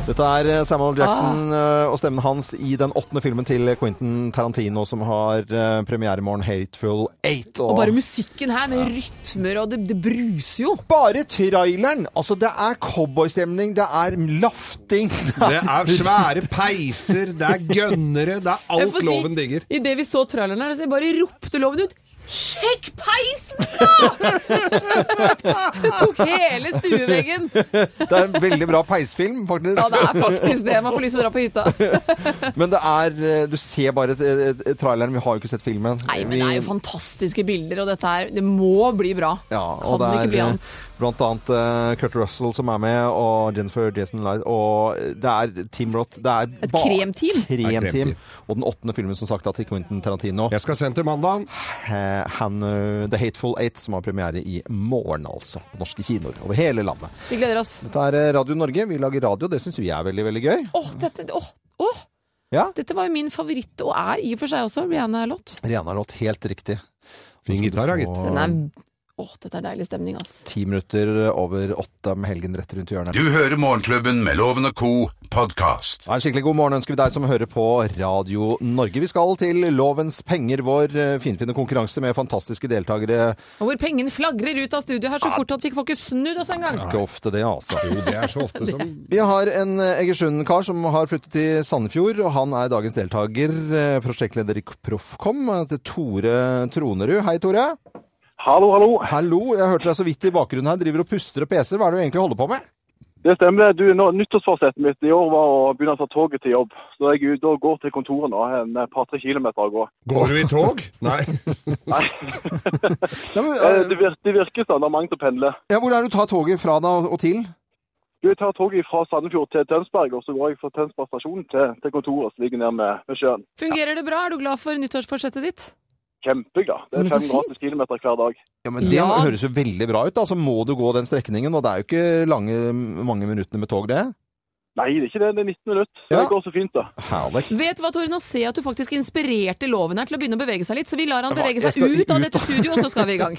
Speaker 2: Dette er
Speaker 3: Ah.
Speaker 2: Samuel Jackson eh, og stemmen hans i den åttende filmen til Quentin Tarantino, som har eh, premiere i morgen, 'Hateful Eight'.
Speaker 3: Og bare musikken her, med rytmer og det, det bruser jo.
Speaker 2: bare traileren! Altså, det er cowboystemning, det er lafting, det
Speaker 4: Det er svære peiser, det er gønnere, det er
Speaker 3: Jeg
Speaker 4: alt
Speaker 3: får si,
Speaker 4: loven digger.
Speaker 3: Idet vi så traileren her, så jeg bare ropte loven ut. Sjekk peisen, da! Tok hele stueveggen.
Speaker 2: Det er en veldig bra peisfilm, faktisk.
Speaker 3: Ja, det er faktisk det. Man får lyst til å dra på hytta.
Speaker 2: Men det er eh, Du ser bare et, et, et traileren. Vi har jo ikke sett filmen.
Speaker 3: Nei, men
Speaker 2: Vi-
Speaker 3: det er jo fantastiske bilder, og dette her Det må bli bra.
Speaker 2: ja, og
Speaker 3: kan det ikke
Speaker 2: det
Speaker 3: bli
Speaker 2: er
Speaker 3: annet.
Speaker 2: eh, blant annet eh, Kurt Russell som er med, og Jennifer Jason Light, og eh, det er Team Roth. Det er
Speaker 3: Et
Speaker 2: bare-
Speaker 3: kremteam.
Speaker 2: kremteam.
Speaker 4: Det er kremteam.
Speaker 2: Og den åttende filmen som sagt da, til Quentin Tarantino.
Speaker 4: Jeg skal sende til mandagen.
Speaker 2: Eh, Han, eh, The Hateful Eight, som har premiere i morgen, altså. På norske kinoer over hele landet.
Speaker 3: Vi gleder oss.
Speaker 2: Dette er eh, Radio Norge. Vi lager radio. Det syns vi er veldig, veldig gøy.
Speaker 3: Åh, dette, åh, åh.
Speaker 2: Ja.
Speaker 3: dette var jo min favoritt, og er i og for seg også, Rihanna-låt.
Speaker 2: Rihanna låt helt riktig.
Speaker 4: Fin gitar, da, gitt.
Speaker 3: Den
Speaker 2: gitt.
Speaker 3: er Åh, dette er deilig stemning, altså.
Speaker 2: Ti minutter over åtte med helgen rett rundt hjørnet.
Speaker 1: Du hører Morgenklubben med Loven og Co. podkast.
Speaker 2: Ja, En skikkelig god morgen ønsker vi deg som hører på Radio Norge. Vi skal til Lovens penger, vår eh, finfine konkurranse med fantastiske deltakere.
Speaker 3: Og hvor pengene flagrer ut av studio her så fort at vi får ikke snudd oss engang.
Speaker 2: Ikke ofte det, altså.
Speaker 4: Jo, det er så ofte som
Speaker 2: Vi har en eh, Egersund-kar som har flyttet til Sandefjord, og han er dagens deltaker. eh, Prosjektleder i Proffkom, eh, til Tore Tronerud. Hei, Tore.
Speaker 10: Hallo, hallo.
Speaker 2: Hallo, jeg hørte deg så vidt i bakgrunnen her. Driver og puster og peser. Hva er det du egentlig holder på med?
Speaker 10: Det stemmer. det. Du, nå, nyttårsforsettet mitt i år var å begynne å ta toget til jobb. Så jeg er ute og går til kontoret nå, en par-tre kilometer å gå.
Speaker 4: Går du i tog? Nei.
Speaker 10: Nei,
Speaker 2: Nei, men,
Speaker 10: eh,
Speaker 2: eh,
Speaker 10: det virker, det virker sånn. Det er mange som pendler.
Speaker 2: ja, hvor er det du tar toget fra da og til?
Speaker 10: Du, jeg tar toget fra Sandefjord til Tønsberg, og så går jeg fra Tønsberg stasjon til, til kontoret som ligger nede med, ved sjøen.
Speaker 3: Fungerer det bra? Er du glad for nyttårsforsettet ditt?
Speaker 10: Kjempeglad. Det
Speaker 3: Men
Speaker 10: er
Speaker 3: så
Speaker 10: fem
Speaker 3: fint.
Speaker 10: gratis kilometer hver dag.
Speaker 2: Ja, men Det
Speaker 3: Ja.
Speaker 2: høres jo veldig bra ut. da, Så må du gå den strekningen, og det er jo ikke lange, mange minuttene med tog, det.
Speaker 10: Nei, det er ikke det. Det er 19 minutter. Så
Speaker 2: Ja.
Speaker 10: det går så fint, da.
Speaker 2: Herlig.
Speaker 3: Vet du hva, Tore, nå ser jeg at du faktisk inspirerte loven her til å begynne å bevege seg litt, så vi lar han
Speaker 2: Ja, hva?
Speaker 3: bevege
Speaker 2: Jeg
Speaker 3: seg
Speaker 2: skal
Speaker 3: ut av
Speaker 2: ut,
Speaker 3: dette studio, og så skal vi i gang.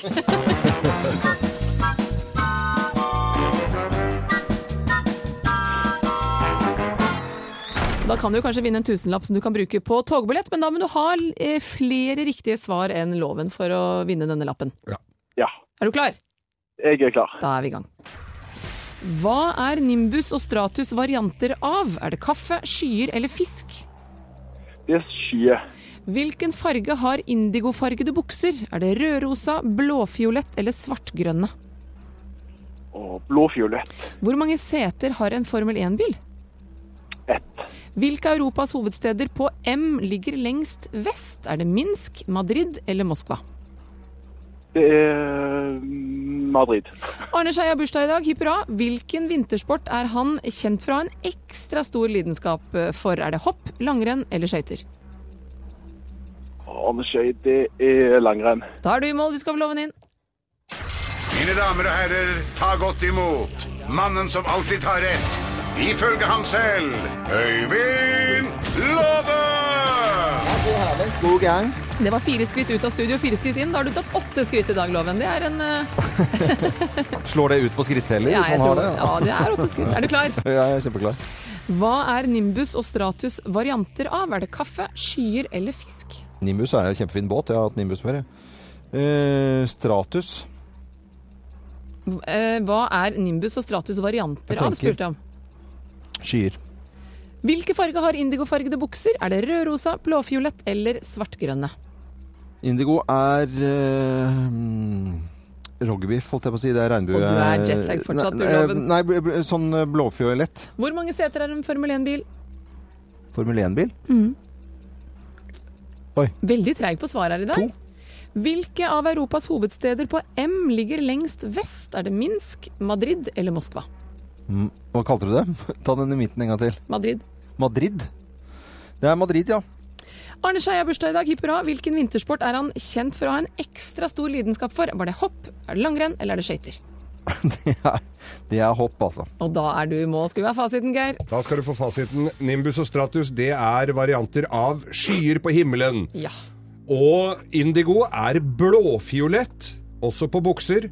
Speaker 3: Da kan du jo kanskje vinne en tusenlapp som du kan bruke på togbillett, men da må du ha eh, flere riktige svar enn loven for å vinne denne lappen.
Speaker 10: Ja,
Speaker 3: Er du klar?
Speaker 10: jeg er klar.
Speaker 3: Da er vi i gang. Hva er Nimbus og Stratus varianter av? Er det kaffe, skyer eller fisk?
Speaker 10: Det er skye.
Speaker 3: Hvilken farge har indigofargede bukser? Er det rødrosa, blåfiolett eller svartgrønne?
Speaker 10: Og blåfiolett.
Speaker 3: Hvor mange seter har en Formel 1-bil?
Speaker 10: Ett.
Speaker 3: Hvilke av Europas hovedsteder på M ligger lengst vest? Er det Minsk, Madrid eller Moskva?
Speaker 10: Det er mm, Madrid.
Speaker 3: Arne Skei har bursdag i dag, hipp hurra. Hvilken vintersport er han kjent for å ha en ekstra stor lidenskap for? Er det hopp, langrenn eller skøyter?
Speaker 10: Arne Skei, det er langrenn.
Speaker 3: Da er du i mål, vi skal få loven inn.
Speaker 1: Mine damer og herrer, ta godt imot mannen som alltid tar rett. Ifølge ham selv Øyvind Låve!
Speaker 2: God gang.
Speaker 3: Det var fire skritt ut av studio, fire skritt inn. Da har du tatt åtte skritt i dag, Loven. Det er en eh,
Speaker 2: Slår det ut på skritteller
Speaker 3: ja,
Speaker 2: hvis
Speaker 3: jeg
Speaker 2: man sånn har
Speaker 3: tror-
Speaker 2: det?
Speaker 3: ja, det er åtte skritt. Er du klar?
Speaker 2: Ja, jeg er kjempeklar.
Speaker 3: Hva er Nimbus og Stratus varianter av? Er det kaffe, skyer eller fisk?
Speaker 2: Nimbus er en kjempefin båt. Jeg har hatt Nimbus før, jeg. Eh, Stratus.
Speaker 3: Eh, Hva er Nimbus og Stratus varianter
Speaker 2: Jeg
Speaker 3: av?
Speaker 2: tenker.
Speaker 3: spurte jeg om.
Speaker 2: Skyer.
Speaker 3: Hvilke farge har indigofargede bukser? Er det rødrosa, blåfiolett eller svartgrønne?
Speaker 2: Indigo er eh, mm, Roggebiff, holdt jeg på å si. Det er regnbue...
Speaker 3: Og du er jetlag fortsatt, du,
Speaker 2: nei, eh,
Speaker 3: Robin.
Speaker 2: nei, bl- bl- sånn eh, blåfiolett.
Speaker 3: Hvor mange seter er en Formel 1-bil?
Speaker 2: Formel 1-bil.
Speaker 3: Veldig treig på svar her i dag. Hvilke av Europas hovedsteder på M ligger lengst vest? Er det Minsk, Madrid eller Moskva?
Speaker 2: Mm, hva kalte du det? Ta den i midten en gang til.
Speaker 3: Madrid.
Speaker 2: Madrid. Det er Madrid, ja.
Speaker 3: Arne Skei har bursdag i dag, hipp hurra. Hvilken vintersport er han kjent for å ha en ekstra stor lidenskap for? Var det hopp, er det langrenn eller er det skøyter?
Speaker 2: Det er, det er hopp, altså.
Speaker 3: Og da er du i mål. Skal vi ha fasiten, Geir?
Speaker 4: Da skal du få fasiten. Nimbus og Stratus det er varianter av skyer på himmelen.
Speaker 3: Ja.
Speaker 4: Og indigo er blåfiolett, også på bukser.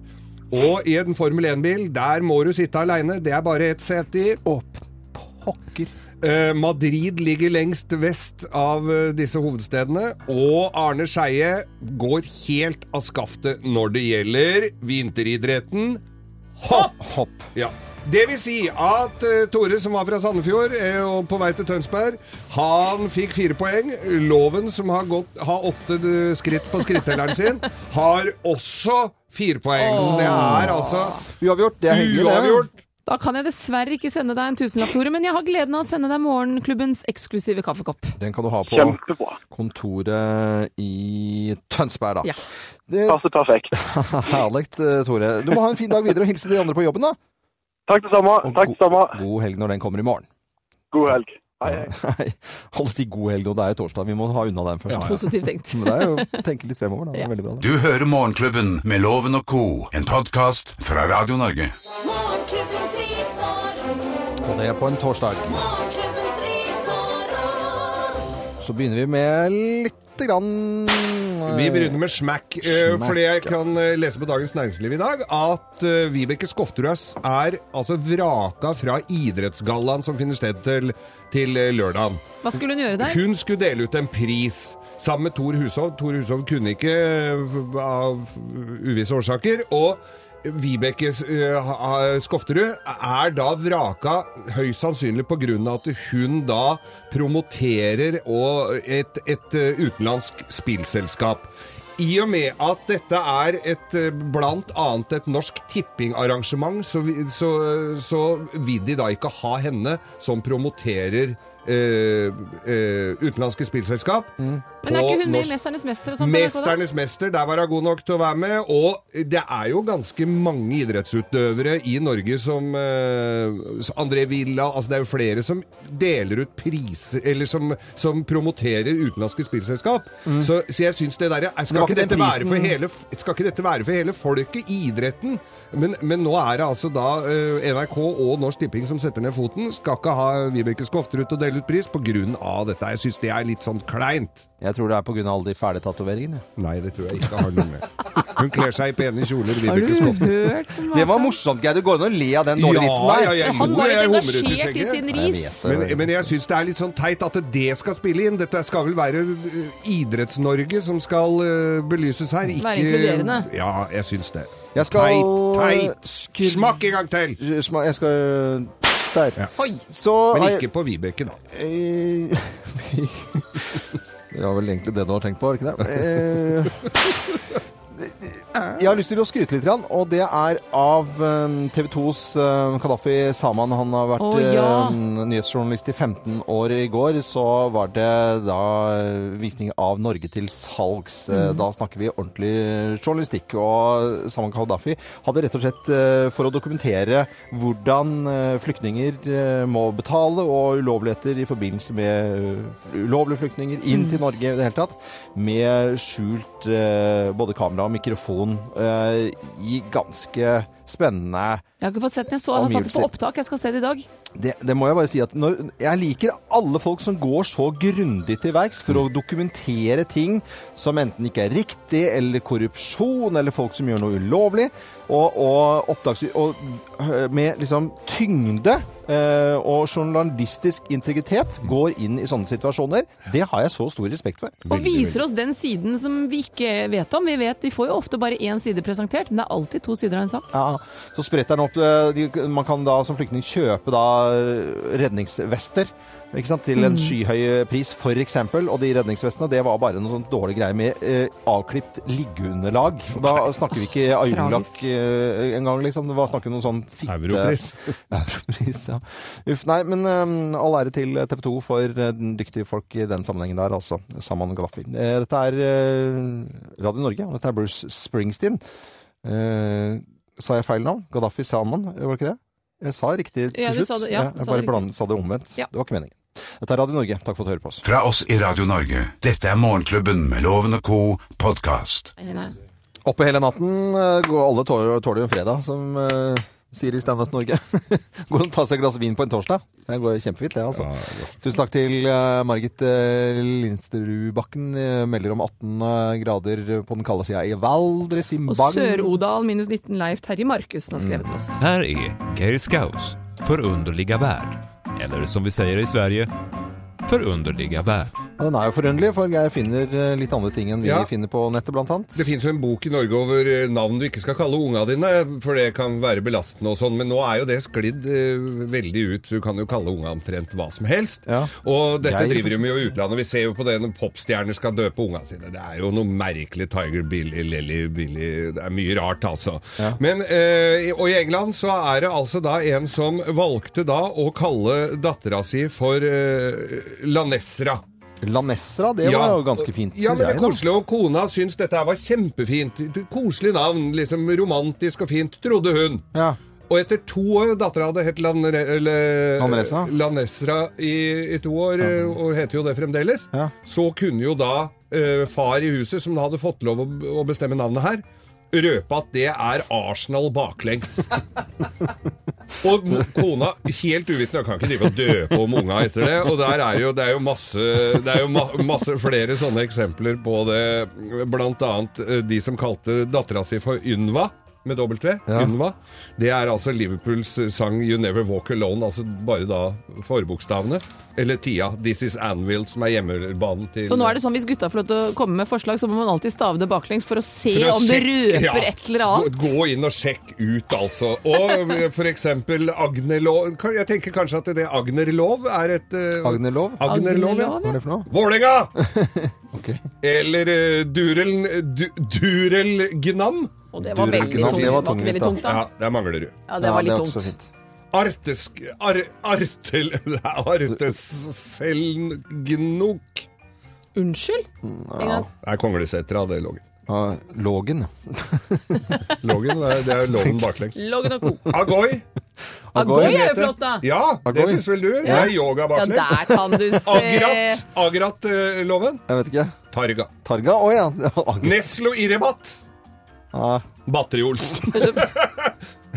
Speaker 4: Og i en Formel 1-bil, der må du sitte aleine. Det er bare ett sete i.
Speaker 2: Åp, pokker.
Speaker 4: Eh, Madrid ligger lengst vest av eh, disse hovedstedene, og Arne Skeie går helt av skaftet når det gjelder vinteridretten.
Speaker 2: Hopp.
Speaker 4: Ja. Det vil si at eh, Tore, som var fra Sandefjord eh, og på vei til Tønsberg, han fikk fire poeng. Loven, som har, gått, har åtte eh, skritt på skrittelleren sin, har også fire poeng. Så det er altså
Speaker 2: Uavgjort. Det er hyggelig, det.
Speaker 3: Da kan jeg dessverre ikke sende deg en tusenlapp, Tore, men jeg har gleden av å sende deg morgenklubbens eksklusive kaffekopp.
Speaker 2: Den kan du ha på
Speaker 3: Kjempebra.
Speaker 2: kontoret i Tønsberg, da.
Speaker 3: Ja.
Speaker 2: Passer perfekt. Herlig, eh, Tore. Du må ha en fin dag videre og hilse de andre på jobben, da. Takk det samme. Takk det samme. God helg når den kommer i morgen. God helg. Hei, hei. Alle sier god helg, og det er jo torsdag. Vi må ha unna den først.
Speaker 1: Ja, ja. Positivt
Speaker 3: tenkt.
Speaker 2: Men det er jo tenke litt fremover, da. Det er veldig bra. det.
Speaker 1: Du hører Morgenklubben med Loven og co., en podkast fra Radio Norge.
Speaker 7: Morgenklubbens ris og ros.
Speaker 2: Og det er på en torsdag.
Speaker 7: Morgenklubbens ris og ros.
Speaker 2: Så begynner vi med lite grann
Speaker 4: Vi begynner med smack, eh, fordi jeg kan eh, lese på Dagens Næringsliv i dag at eh, Vibeke Skofterøs er altså vraka fra idrettsgallaen som finner sted til, til eh, lørdagen.
Speaker 3: Hva skulle hun gjøre der?
Speaker 4: Hun skulle dele ut en pris. Sammen med Thor Hushov. Thor Hushov kunne ikke eh, av uvisse årsaker. Og Vibeke eh, ha- Skofterud er da vraka høyst sannsynlig på grunn av at hun da promoterer og et, et eh, utenlandsk spillselskap. I og med at dette er et, eh, blant annet et norsk tippingarrangement, så, vi- så, så vil de da ikke ha henne som promoterer eh, eh, utenlandske spillselskap.
Speaker 3: Men er
Speaker 4: på
Speaker 3: ikke hun med
Speaker 4: norsk-
Speaker 3: i Mesternes mester og sånn? på NRK da?
Speaker 4: Mesternes mester, der var hun god nok til å være med. Og det er jo ganske mange idrettsutøvere i Norge som eh, som André Villa altså Det er jo flere som deler ut priser, eller som, som promoterer utenlandske spillselskap. Så, så jeg syns det derre skal,
Speaker 2: Mm. var
Speaker 4: ikke
Speaker 2: ikke den
Speaker 4: dette være for
Speaker 2: prisen-
Speaker 4: hele, skal ikke dette være for hele folket i idretten? Men, men nå er det altså da eh, NRK og Norsk Tipping som setter ned foten. Skal ikke ha Vibeke Skofterud til å dele ut pris pga. dette. Jeg syns det er litt sånn kleint.
Speaker 2: Jeg tror det er pga. alle de fæle tatoveringene.
Speaker 4: Nei, det tror jeg ikke har noe med. Hun kler seg i pene kjoler,
Speaker 2: Har du
Speaker 4: Vibeke Skofte.
Speaker 3: hørt om
Speaker 2: Det var morsomt, Geir. Du går inn og le av den dårlige
Speaker 4: Ja,
Speaker 2: vitsen der.
Speaker 4: ja, jeg Han lo, var jeg litt humret i engasjert i skjegget. sin
Speaker 2: Nei, jeg
Speaker 4: ris.
Speaker 2: vet det.
Speaker 4: Men, men jeg syns det er litt sånn teit at det skal spille inn. Dette skal vel være eh, Idretts-Norge som skal eh, belyses her. Ikke,
Speaker 3: Være inkluderende.
Speaker 4: Ja, jeg syns det.
Speaker 2: Jeg skal
Speaker 4: Teit, teit. Smak en gang til!
Speaker 2: Jeg skal Der. Så
Speaker 4: Men
Speaker 2: har jeg-
Speaker 4: ikke på Vibeke, da.
Speaker 2: Eh, Det var vel egentlig det du har tenkt på, var det ikke det? Eh, Jeg har lyst til å skryte litt, grann, og det er av eh, TV 2s Kadafi Saman. Han har vært
Speaker 3: Å, ja.
Speaker 2: eh, nyhetsjournalist i 15 år. I går så var det da eh, visning av Norge til salgs. Eh,
Speaker 11: Mhm.
Speaker 2: Da snakker vi ordentlig journalistikk. Og Saman Kadafi hadde rett og slett eh, for å dokumentere hvordan eh, flyktninger eh, må betale og ulovligheter i forbindelse med eh, ulovlige flyktninger inn til Norge i det hele tatt, med skjult eh, både kamera og mikrofon eh, i ganske spennende
Speaker 3: Jeg har ikke fått sett den. Jeg så han satte på
Speaker 2: Omgivelser.
Speaker 3: opptak. Jeg skal se det i dag.
Speaker 2: det, det må jeg bare si at når, jeg liker alle folk som går så grundig til verks for å dokumentere ting som enten ikke er riktig, eller korrupsjon, eller folk som gjør noe ulovlig, og, og oppdags... Og øh, med liksom tyngde øh, og journalistisk integritet går inn i sånne situasjoner. Det har jeg så stor respekt for.
Speaker 3: Og viser oss den siden som vi ikke vet om. Vi vet, vi får jo ofte bare én side presentert, men det er alltid to sider av en sak.
Speaker 2: Ja, så spretter den opp. eh, de- Man kan da som flyktning kjøpe da eh, redningsvester ikke sant? til en
Speaker 11: Mm.
Speaker 2: skyhøy pris, for eksempel. Og de redningsvestene, det var bare noen sånn dårlig greie med eh, avklippt liggeunderlag. Og Da snakker vi ikke ayurlakk eh, engang, liksom. Det var snakket om noen sånn sitte...
Speaker 4: Europris.
Speaker 2: Europris, ja. Uff, nei, men eh, all ære til TV 2 for eh, dyktige folk i den sammenhengen der, altså. Saman Gaddafi. Eh, dette er eh, Radio Norge, og dette er Bruce Springsteen. Eh, sa jeg feil navn? Gaddafi Salman, var det ikke det? Jeg sa riktig til
Speaker 3: Ja, du
Speaker 2: slutt.
Speaker 3: sa det- ja, du
Speaker 2: jeg
Speaker 3: sa
Speaker 2: bare
Speaker 3: det
Speaker 2: blandet- sa det omvendt.
Speaker 3: Ja.
Speaker 2: Det var ikke meningen. Dette er Radio Norge, takk for at du hører på oss.
Speaker 1: Fra oss i Radio Norge, dette er Morgenklubben med Loven og co. podkast.
Speaker 2: Oppe hele natten eh, går alle tåler, tåler en fredag, som eh, sier i Standup Norge. Gå og ta seg et glass vin på en torsdag. Det går kjempefint, det, altså. Tusen takk til eh, Margit eh, Linsterudbakken. eh, Melder om 18 grader på den kalde sida i Valdres i
Speaker 3: Og
Speaker 2: Bagn.
Speaker 3: Sør-Odal minus 19 Leif Terje Markussen har skrevet til oss.
Speaker 12: Här är Geir Skaus förunderliga värld. Eller som vi säger i Sverige, förunderliga värld.
Speaker 2: Den er jo forunderlig, for Geir finner eh, litt andre ting enn vi
Speaker 4: Ja.
Speaker 2: finner på nettet, blant annet.
Speaker 4: Det fins jo en bok i Norge over eh, navn du ikke skal kalle unga dine, for det kan være belastende og sånn, men nå er jo det sklidd eh, veldig ut. Du kan jo kalle unga omtrent hva som helst. Og dette
Speaker 2: Geir,
Speaker 4: driver de med i utlandet. Vi ser jo på det når popstjerner skal døpe unga sine. Det er jo noe merkelig Tiger Billy, Lilly Billy Det er mye rart, altså. Men, eh, og i England så er det altså da en som valgte da å kalle dattera si for eh, Lanesra.
Speaker 2: Lanesra, det var jo ganske fint, synes
Speaker 4: Ja, men det
Speaker 2: jeg, da.
Speaker 4: er koselig, og kona syns dette her var kjempefint. Et Koselig navn, liksom romantisk og fint, trodde hun. Og etter to år, dattera hadde hett Lan eller-
Speaker 2: Lanesra.
Speaker 4: Lanesra i, i to år, eh, og heter jo det fremdeles, så kunne jo da eh, far i huset, som da hadde fått lov å, å bestemme navnet her, røpe at det er Arsenal baklengs. Og mo- kona, helt uvitende, kan ikke drive og døpe om unga etter det. Og der er jo, det er jo, masse, det er jo ma masse flere sånne eksempler på det. Blant annet eh, de som kalte dattera si for Ynva. Med dobbelt V.
Speaker 2: Ja.
Speaker 4: Ynva. Det er altså Liverpools sang 'You Never Walk Alone', altså bare da forbokstavene. Eller Tia. 'This Is Anvil', som er hjemmebanen til
Speaker 3: Så nå er det sånn hvis gutta får lov til å komme med forslag, så må man alltid stave det baklengs for å se
Speaker 4: For å
Speaker 3: om det
Speaker 4: sjekke-
Speaker 3: røper
Speaker 4: ja,
Speaker 3: et eller annet.
Speaker 4: Gå, gå inn og sjekk ut, altså. Og eh, for eksempel Agnerlov Kan- Jeg tenker kanskje at det Agnerlov er et eh,
Speaker 2: Agnerlov?
Speaker 4: Agnerlov, ja.
Speaker 2: Hva er det for noe?
Speaker 4: Vålerenga! Eller eh, Durel du, Durel Gnam.
Speaker 3: Og det var Durel veldig Gnam, tungt. det var Var ikke det tungvint, litt da. tungt, da?
Speaker 4: Ja, der mangler du.
Speaker 3: Ja, det var Ja, litt det er også tungt. fint.
Speaker 4: Artesk... Ar, artel... Arteselgnok.
Speaker 3: Unnskyld? En gang.
Speaker 4: Det er Konglesetra, det, Lågen.
Speaker 2: Lågen.
Speaker 4: Lågen, det er- det er jo Lågen baklengs.
Speaker 3: Loggen og co.
Speaker 4: Agoi.
Speaker 3: Agoi er jo flott, da.
Speaker 4: Ja, det
Speaker 2: Agoi.
Speaker 4: syns vel du? Det
Speaker 2: Ja.
Speaker 4: er yoga baklengs.
Speaker 3: Ja, der kan du se.
Speaker 4: Agrat. Agrat-loven.
Speaker 2: Jeg vet ikke.
Speaker 4: Targa.
Speaker 2: Targa? Å ja. Agner.
Speaker 4: Neslo Irebat.
Speaker 2: Ja.
Speaker 4: Batteri-Olsen.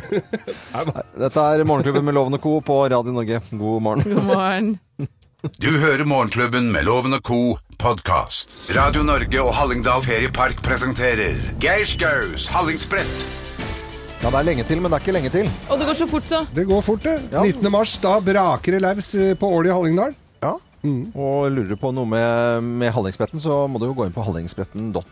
Speaker 2: Dette er Morgenklubben med Loven og Co. på Radio Norge. God morgen.
Speaker 3: God morgen.
Speaker 1: Du hører Morgenklubben med Loven og Co. podkast. Radio Norge og Hallingdal Feriepark presenterer Geir Skaus Hallingsbrett.
Speaker 2: Ja, det er lenge til, men det er ikke lenge til.
Speaker 3: Og det går så fort, så.
Speaker 4: Det går fort, det. 19. mars, da braker det laus eh, på Ål i Hallingdal.
Speaker 2: Ja. Mm. Og lurer du på noe med, med Hallingsbretten, så må du jo gå inn på hallingsbretten.no.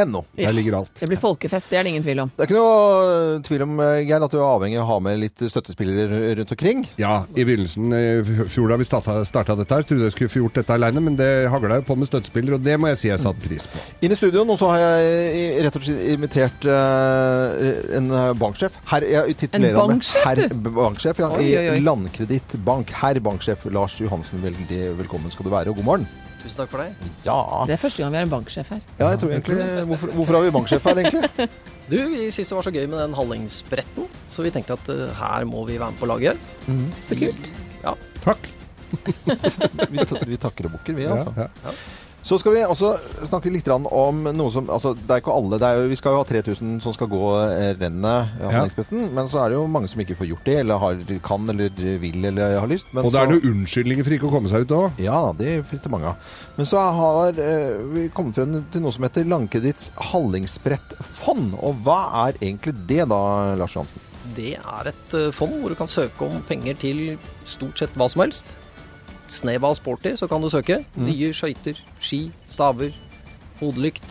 Speaker 3: Ja. Der ligger
Speaker 4: alt.
Speaker 3: Det blir folkefest, det er det ingen tvil om.
Speaker 2: Det er ikke noe tvil om eh, Geir, at du er avhengig av å ha med litt støttespillere rundt omkring.
Speaker 4: Ja, i begynnelsen eh, i fjor da vi starta, starta dette her, trodde jeg skulle få gjort dette aleine, men det hagla jo på med støttespillere, og det må jeg si jeg satte pris på.
Speaker 2: Inn i studio nå så har jeg i- rett og slett invitert eh, en eh, banksjef. Herr, jeg titulerer
Speaker 11: En
Speaker 2: ham med
Speaker 11: banksjef,
Speaker 2: herr
Speaker 11: du?
Speaker 2: b- banksjef, ja,
Speaker 11: Oi, oi, oi.
Speaker 2: i Landkreditt Bank. Herr banksjef Lars Johansen, veldig velkommen skal du være, og god morgen.
Speaker 5: Tusen takk for deg.
Speaker 2: Ja.
Speaker 3: Det er første gang vi har en banksjef her.
Speaker 2: Ja, jeg tror egentlig Hvorfor, hvorfor har vi banksjef her, egentlig?
Speaker 5: Du, vi syntes det var så gøy med den Hallingsbretten, så vi tenkte at eh, her må vi være med på laget.
Speaker 3: Så kult.
Speaker 5: Ja.
Speaker 4: Takk.
Speaker 2: Vi, ta- vi takker og bukker, vi,
Speaker 5: Ja,
Speaker 2: altså. Så skal vi også snakke litt grann om noe som altså, Det er ikke alle. Det er jo, vi skal jo ha 3000 som skal gå eh, rennet, eh, Handlingsbretten. Men så er det jo mange som ikke får gjort det, eller har, kan, eller vil, eller har lyst. Men
Speaker 4: Og det
Speaker 2: så-
Speaker 4: er noen unnskyldninger for ikke å komme seg ut òg.
Speaker 2: Ja da, det finnes det mange av. Men så har eh, vi kommet frem til noe som heter Landkreditts Hallingsbrettfond. Og hva er egentlig det da, Lars Johansen?
Speaker 5: Det er et eh, fond hvor du kan søke om penger til stort sett hva som helst. Snev av sporty, så kan du søke.
Speaker 2: Mm.
Speaker 5: Nye skøyter, ski, staver, hodelykt.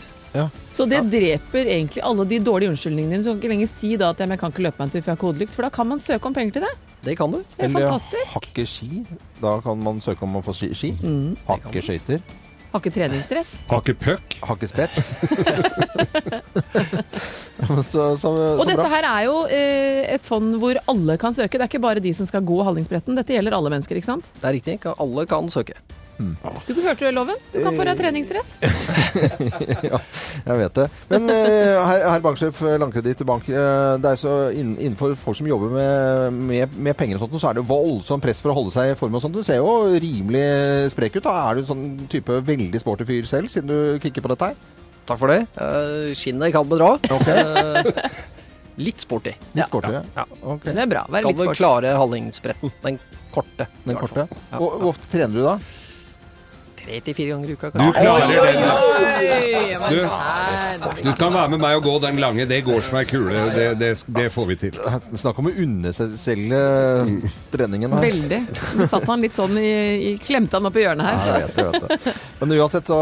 Speaker 3: Så det dreper egentlig alle de dårlige unnskyldningene dine. Så kan ikke lenger si da at ja, men jeg kan ikke løpe meg en tur for jeg har ikke hodelykt, for da kan man søke om penger til det.
Speaker 5: Det kan du.
Speaker 3: Det er fantastisk.
Speaker 2: hakke ski. Da kan man søke om å få ski. ski.
Speaker 3: Mm.
Speaker 2: Hakke skøyter.
Speaker 3: Har ikke treningsstress.
Speaker 4: Hakke puck.
Speaker 2: Hakke spett. så, så, så
Speaker 3: Og
Speaker 2: bra.
Speaker 3: dette her er jo eh, et fond hvor alle kan søke. Det er ikke bare de som skal gå Hallingsbretten. Dette gjelder alle mennesker, ikke sant?
Speaker 5: Det er riktig. ikke? Alle kan søke.
Speaker 3: Du hørte det, Loven? Du kan få deg treningsstress.
Speaker 2: ja, jeg vet det. Men eh, herr herr banksjef Landkreditt Bank, eh, det er så inn, innenfor folk som jobber med, med, med penger og sånt, så er det jo voldsomt press for å holde seg i form og sånt. Du ser jo rimelig sprek ut. da. Er du en sånn type veldig sporty fyr selv, siden du kikker på dette her?
Speaker 5: Takk for det. Eh, Skinnet kan bedra. Eh, Litt sporty.
Speaker 2: Litt sporty, ja.
Speaker 3: Det er bra. Vær
Speaker 5: Skal
Speaker 3: litt
Speaker 5: du
Speaker 3: sporty.
Speaker 5: klare Hallingsbretten, den korte.
Speaker 2: Den
Speaker 5: i hvert
Speaker 2: korte.
Speaker 5: fall. Ja.
Speaker 2: Hvor, hvor ofte trener du da?
Speaker 11: tre til fire ganger i uka.
Speaker 4: Du klarer det,
Speaker 3: Oi,
Speaker 4: Du,
Speaker 3: men
Speaker 4: du kan være med meg og gå den lange. Det går som ei kule. Det, det, det får vi til.
Speaker 2: Snakk om å underselge treningen her.
Speaker 3: Veldig. Nå satt han litt sånn i, i Klemte han opp i hjørnet her.
Speaker 2: Ja, jeg vet det, jeg vet det. Men uansett så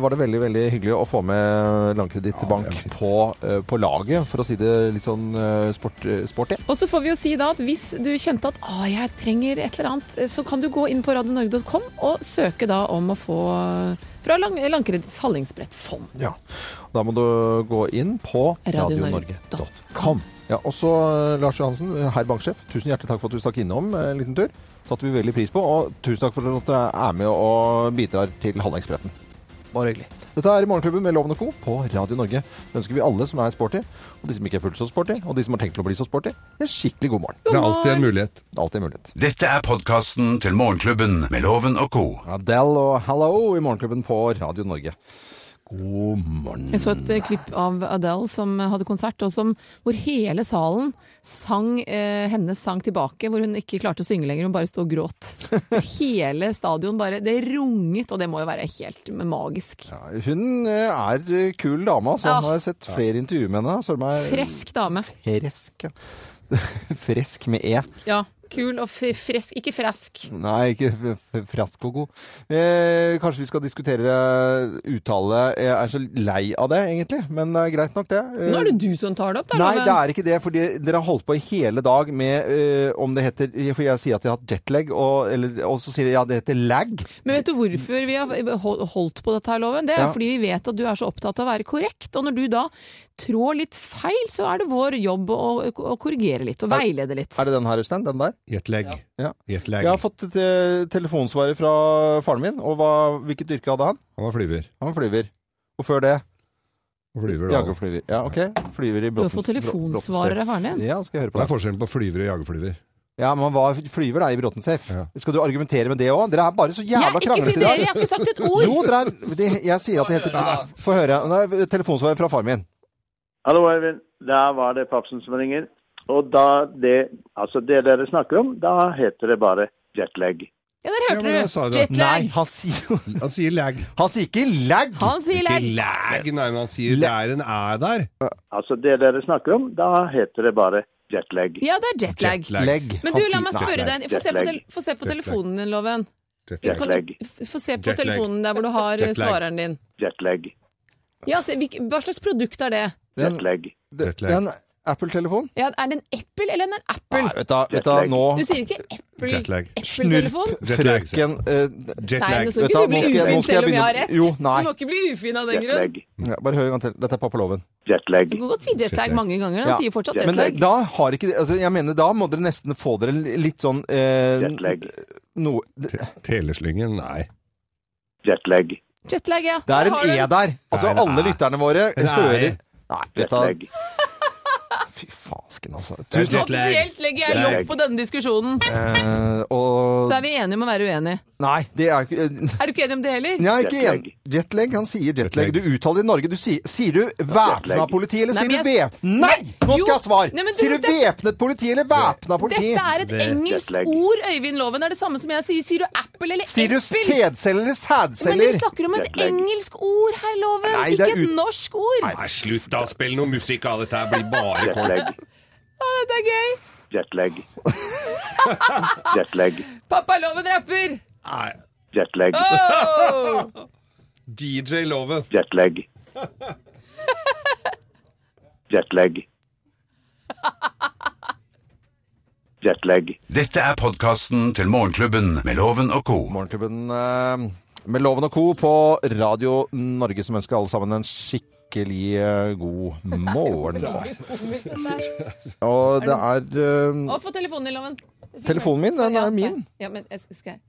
Speaker 2: var det veldig veldig hyggelig å få med Landkredittbank på, eh, på laget, for å si det litt sånn eh, sport, sporty.
Speaker 3: Og så får vi jo si da at hvis du kjente at ah, jeg trenger et eller annet, eh, så kan du gå inn på radionorge.com og søke da om å få eh, fra Lang- Landkreditts Hallingsbrettfond.
Speaker 2: Ja. Da må du gå inn på radionorge.com. Ja, og så eh, Lars Johansen, herr banksjef, tusen hjertelig takk for at du stakk innom eh, en liten tur. Satte vi veldig pris på, og tusen takk for at du er med og bidrar til Hallingsbretten.
Speaker 11: Bare hyggelig.
Speaker 2: Dette er Morgenklubben med Loven og Co. på Radio Norge. Det ønsker vi alle som er sporty, og de som ikke er fullt så sporty, og de som har tenkt til å bli så sporty, en skikkelig god morgen.
Speaker 1: Det er alltid en
Speaker 4: mulighet.
Speaker 2: Alltid en mulighet.
Speaker 1: Dette er podkasten til Morgenklubben med Loven og co.
Speaker 2: Adele og Hello i Morgenklubben på Radio Norge. God morgen.
Speaker 3: Jeg så et eh, klipp av Adele som hadde konsert, og som, hvor hele salen sang eh, hennes sang tilbake, hvor hun ikke klarte å synge lenger, hun bare sto og gråt. Hele stadion bare Det runget, og det må jo være helt magisk.
Speaker 2: Hun eh, er kul dame, altså.
Speaker 3: Ja.
Speaker 2: Har jeg sett flere intervjuer med henne. Søren meg
Speaker 3: Ah. Fresk dame.
Speaker 2: Fresk, ja. Fresk med E.
Speaker 3: Ja. Kul og f- fresk. Ikke fresk.
Speaker 2: Nei, ikke f- f- frask og god. Eh, kanskje vi skal diskutere eh, uttale. Jeg er så lei av det, egentlig. Men det er greit nok, det. Eh,
Speaker 3: Nå er det du som tar det opp, da.
Speaker 2: Nei,
Speaker 3: Loven.
Speaker 2: det er ikke det, fordi dere har holdt på i hele dag med eh, om det heter For jeg sier at jeg har hatt jetlag, og, eller, og så sier jeg ja, det heter lag.
Speaker 3: Men vet du hvorfor vi har hol- holdt på dette her, Loven? Det er
Speaker 2: Ja.
Speaker 3: fordi vi vet at du er så opptatt av å være korrekt. Og når du da trår litt feil, så er det vår jobb å, å korrigere litt og veilede litt.
Speaker 2: Er det den her, Øystein? Den der?
Speaker 4: Jetlag.
Speaker 2: Ja.
Speaker 4: Jetlag.
Speaker 2: Jeg har fått et eh, telefonsvarer fra faren min, og hva, hvilket yrke hadde han?
Speaker 4: Han var flyver.
Speaker 2: Han var flyver. Og før det?
Speaker 4: Flyver, da.
Speaker 2: Jagerflyver. Ja, ok. Flyver i
Speaker 3: Du har
Speaker 2: Brottens-
Speaker 3: fått
Speaker 2: Bro- Brottens-
Speaker 3: telefonsvarer av faren din.
Speaker 2: Ja, skal jeg høre på
Speaker 4: Det er forskjellen på flyver og jagerflyver.
Speaker 2: Ja, men han var flyver da, i Bråtensef. Skal du argumentere med det òg? Dere er bare så
Speaker 3: Jeg-
Speaker 2: jævla
Speaker 3: ikke
Speaker 2: kranglete
Speaker 3: si
Speaker 2: i dag.
Speaker 3: dere, jeg har ikke sagt et ord.
Speaker 2: Jo, dere er, det, jeg sier at det heter Få høre. Nei, Telefonsvarer fra faren min.
Speaker 13: Hallo, Eivind. Der var det Papsen som ringer. Og da det Altså, det dere snakker om, da heter det bare jetlag.
Speaker 3: Ja, der hørte
Speaker 4: men da sa
Speaker 3: du.
Speaker 4: du-
Speaker 2: Nei,
Speaker 3: Jetlag.
Speaker 2: han sier
Speaker 4: Han sier lag.
Speaker 2: Han sier ikke lag!
Speaker 3: Han sier lag.
Speaker 4: Ikke lag, nei, men han sier det er en æ der.
Speaker 13: Altså, det dere snakker om, da heter det bare jetlag.
Speaker 3: Ja, det er jetlag.
Speaker 13: Jetlag.
Speaker 3: Men du,
Speaker 13: Han
Speaker 3: la
Speaker 13: sier-
Speaker 3: meg
Speaker 13: Nei.
Speaker 3: spørre deg en- Få se på,
Speaker 13: Jetlag.
Speaker 3: tel- få se på
Speaker 13: Jetlag.
Speaker 3: telefonen din, Loven.
Speaker 13: Jetlag.
Speaker 3: Kan du- f- Få se på
Speaker 13: Jetlag.
Speaker 3: telefonen der hvor du har eh,
Speaker 13: Jetlag.
Speaker 3: svareren din.
Speaker 13: Jetlag.
Speaker 3: Ja, se, hvilk- Hva slags produkt er det?
Speaker 13: Jetlag.
Speaker 2: Den Apple-telefon?
Speaker 3: Ja, er det en Apple eller en Apple?
Speaker 2: Nei, vet du, vet du nå
Speaker 3: Du sier ikke Apple,
Speaker 2: Jetlag.
Speaker 3: Apple-telefon?
Speaker 2: Frøken eh,
Speaker 3: Nei, nå skal ikke
Speaker 2: Vet
Speaker 3: du bli
Speaker 2: nå skal jeg- nå
Speaker 3: ufin
Speaker 2: skal
Speaker 3: selv
Speaker 2: jeg
Speaker 3: om jeg har
Speaker 2: begynne-
Speaker 3: rett.
Speaker 2: Jo, nei.
Speaker 3: Du må ikke bli ufin av den grunn.
Speaker 2: Ja, bare hør en gang til. Dette er pappaloven.
Speaker 13: Jetlag.
Speaker 3: Du kan godt si jetlag mange ganger, han sier fortsatt
Speaker 2: Men
Speaker 3: jetlag.
Speaker 2: det- da har ikke det- altså, Jeg mener, da må dere nesten få dere litt sånn eh,
Speaker 4: Jetlag.
Speaker 2: Noe
Speaker 4: Teleslyngen, nei.
Speaker 13: Jetlag.
Speaker 3: Jetlag, ja.
Speaker 2: Det er en
Speaker 3: har du
Speaker 2: E
Speaker 3: den.
Speaker 2: der! Altså,
Speaker 4: Nei, det
Speaker 2: alle
Speaker 4: er-
Speaker 2: lytterne våre
Speaker 4: Det er-
Speaker 2: hører Nei, vet du
Speaker 4: Jetlag.
Speaker 2: Fy fasken, altså.
Speaker 4: Det er
Speaker 2: Tusen
Speaker 3: Offisielt legger jeg lopp på denne diskusjonen.
Speaker 2: Eh, og
Speaker 3: Så er vi enige om å være uenige.
Speaker 2: Nei, det er ikke eh,
Speaker 3: Er du ikke enig om det heller?
Speaker 2: Nei, ikke en. Jetlag. Han sier jetlag. Du uttaler det i Norge. Du sier, sier du væpna
Speaker 3: Jetlag.
Speaker 2: politi, eller
Speaker 3: Nei,
Speaker 2: sier
Speaker 3: men
Speaker 2: du
Speaker 3: jeg-
Speaker 2: væp... Nei! Nå skal jeg ha svar!
Speaker 3: Nei, men du-
Speaker 2: Sier du
Speaker 3: det-
Speaker 2: væpnet politi, eller væpna politi?
Speaker 3: Dette er et engelsk ord, Øyvind Loven. Er det samme som jeg sier. Sier du Apple eller
Speaker 2: Sier du
Speaker 3: Apple?
Speaker 2: sædceller eller
Speaker 3: Men vi
Speaker 2: sædceller?
Speaker 3: snakker om et engelsk ord her, Loven.
Speaker 4: Nei, det
Speaker 3: ikke
Speaker 4: er
Speaker 3: et
Speaker 4: ut-
Speaker 3: norsk ord.
Speaker 4: Nei, slutt da, spill noe musikk av dette her, blir bare
Speaker 13: Jetlag.
Speaker 4: kort.
Speaker 3: Å, dette er gøy.
Speaker 13: Jetlag. Jetlag.
Speaker 3: Pappa Loven rapper.
Speaker 4: Nei.
Speaker 13: Jetlag.
Speaker 3: Åh!
Speaker 4: DJ Loven.
Speaker 13: Jetlag. Jetlag. Jetlag.
Speaker 1: Dette er podkasten til Morgenklubben med Loven og co.
Speaker 2: Morgenklubben eh, med Loven og Co. på Radio Norge, som ønsker alle sammen en skikkelig eh, god morgen. Og det er eh,
Speaker 3: Å, få telefonen din, Loven.
Speaker 2: Telefonen min, den er min.
Speaker 3: Ja, men jeg skal- skal jeg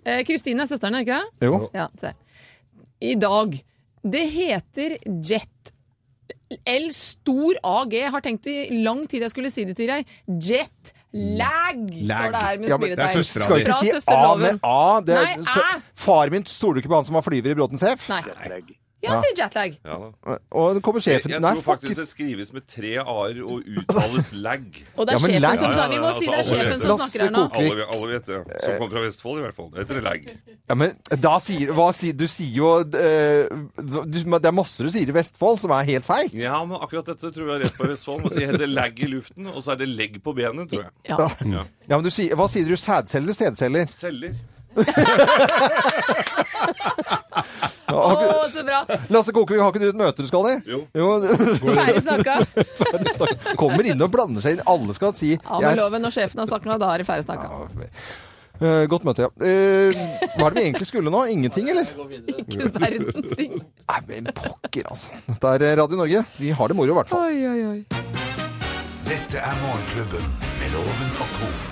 Speaker 3: Eh, Kristine er søsteren, er det ikke det?
Speaker 2: Jo.
Speaker 3: Ja, se. I dag. Det heter Jet L stor AG. Har tenkt i lang tid jeg skulle si det til deg. Jet Lag, står det her med
Speaker 2: Ja, men
Speaker 3: smiletegn.
Speaker 2: Skal ikke
Speaker 3: Fra
Speaker 2: si A
Speaker 3: søsterloven.
Speaker 2: med A. Det,
Speaker 3: Nei, æ.
Speaker 2: Far min stoler du ikke på han som var flyver i Bråtens F?
Speaker 3: Nei. Ja,
Speaker 2: Ja.
Speaker 3: sier jetlag.
Speaker 14: Ja da.
Speaker 2: Og det kommer
Speaker 14: Jeg,
Speaker 2: sjefen
Speaker 14: jeg
Speaker 2: Nei,
Speaker 14: tror
Speaker 2: fuck
Speaker 14: faktisk det skrives med tre a-er og uttales lag.
Speaker 3: Og det er Ja, men sjefen lag- som snakker. Vi
Speaker 14: Ja,
Speaker 3: må
Speaker 14: ja,
Speaker 3: si det er
Speaker 14: altså, alle
Speaker 3: sjefen
Speaker 14: vet
Speaker 3: som snakker her nå. Lasse
Speaker 14: Alle, alle vet det. Som kommer fra Vestfold, i hvert fall. Det heter lag.
Speaker 2: Ja, men da sier, hva sier Du sier jo eh, du, Det er masse du sier i Vestfold som er helt feil.
Speaker 14: Ja, men akkurat dette tror jeg er rett fra Vestfold. Men det heter lag i luften, og så er det legg på benet, tror jeg.
Speaker 2: Ja. Ja, men du sier, Hva sier du? Sædceller? Sædceller?
Speaker 14: Celler.
Speaker 2: Å,
Speaker 3: Å, så bra.
Speaker 2: Lasse Kokevik, har ikke du et møte du skal i? Jo.
Speaker 3: Ferdig snakka.
Speaker 2: Ferdig snakka. Kommer inn og blander seg inn. Alle skal si
Speaker 3: Av med
Speaker 2: jeg-
Speaker 3: loven når sjefen har snakka, da er det ferdig snakka.
Speaker 2: Eh, Godt møte, ja. Eh, hva er det vi egentlig skulle nå? Ingenting, eller?
Speaker 3: Ikke verdens ting.
Speaker 2: Nei, men pokker, altså. Dette er Radio Norge. Vi har det moro, i hvert fall.
Speaker 3: Oi, oi, oi.
Speaker 1: Dette er Morgenklubben med Loven og Co.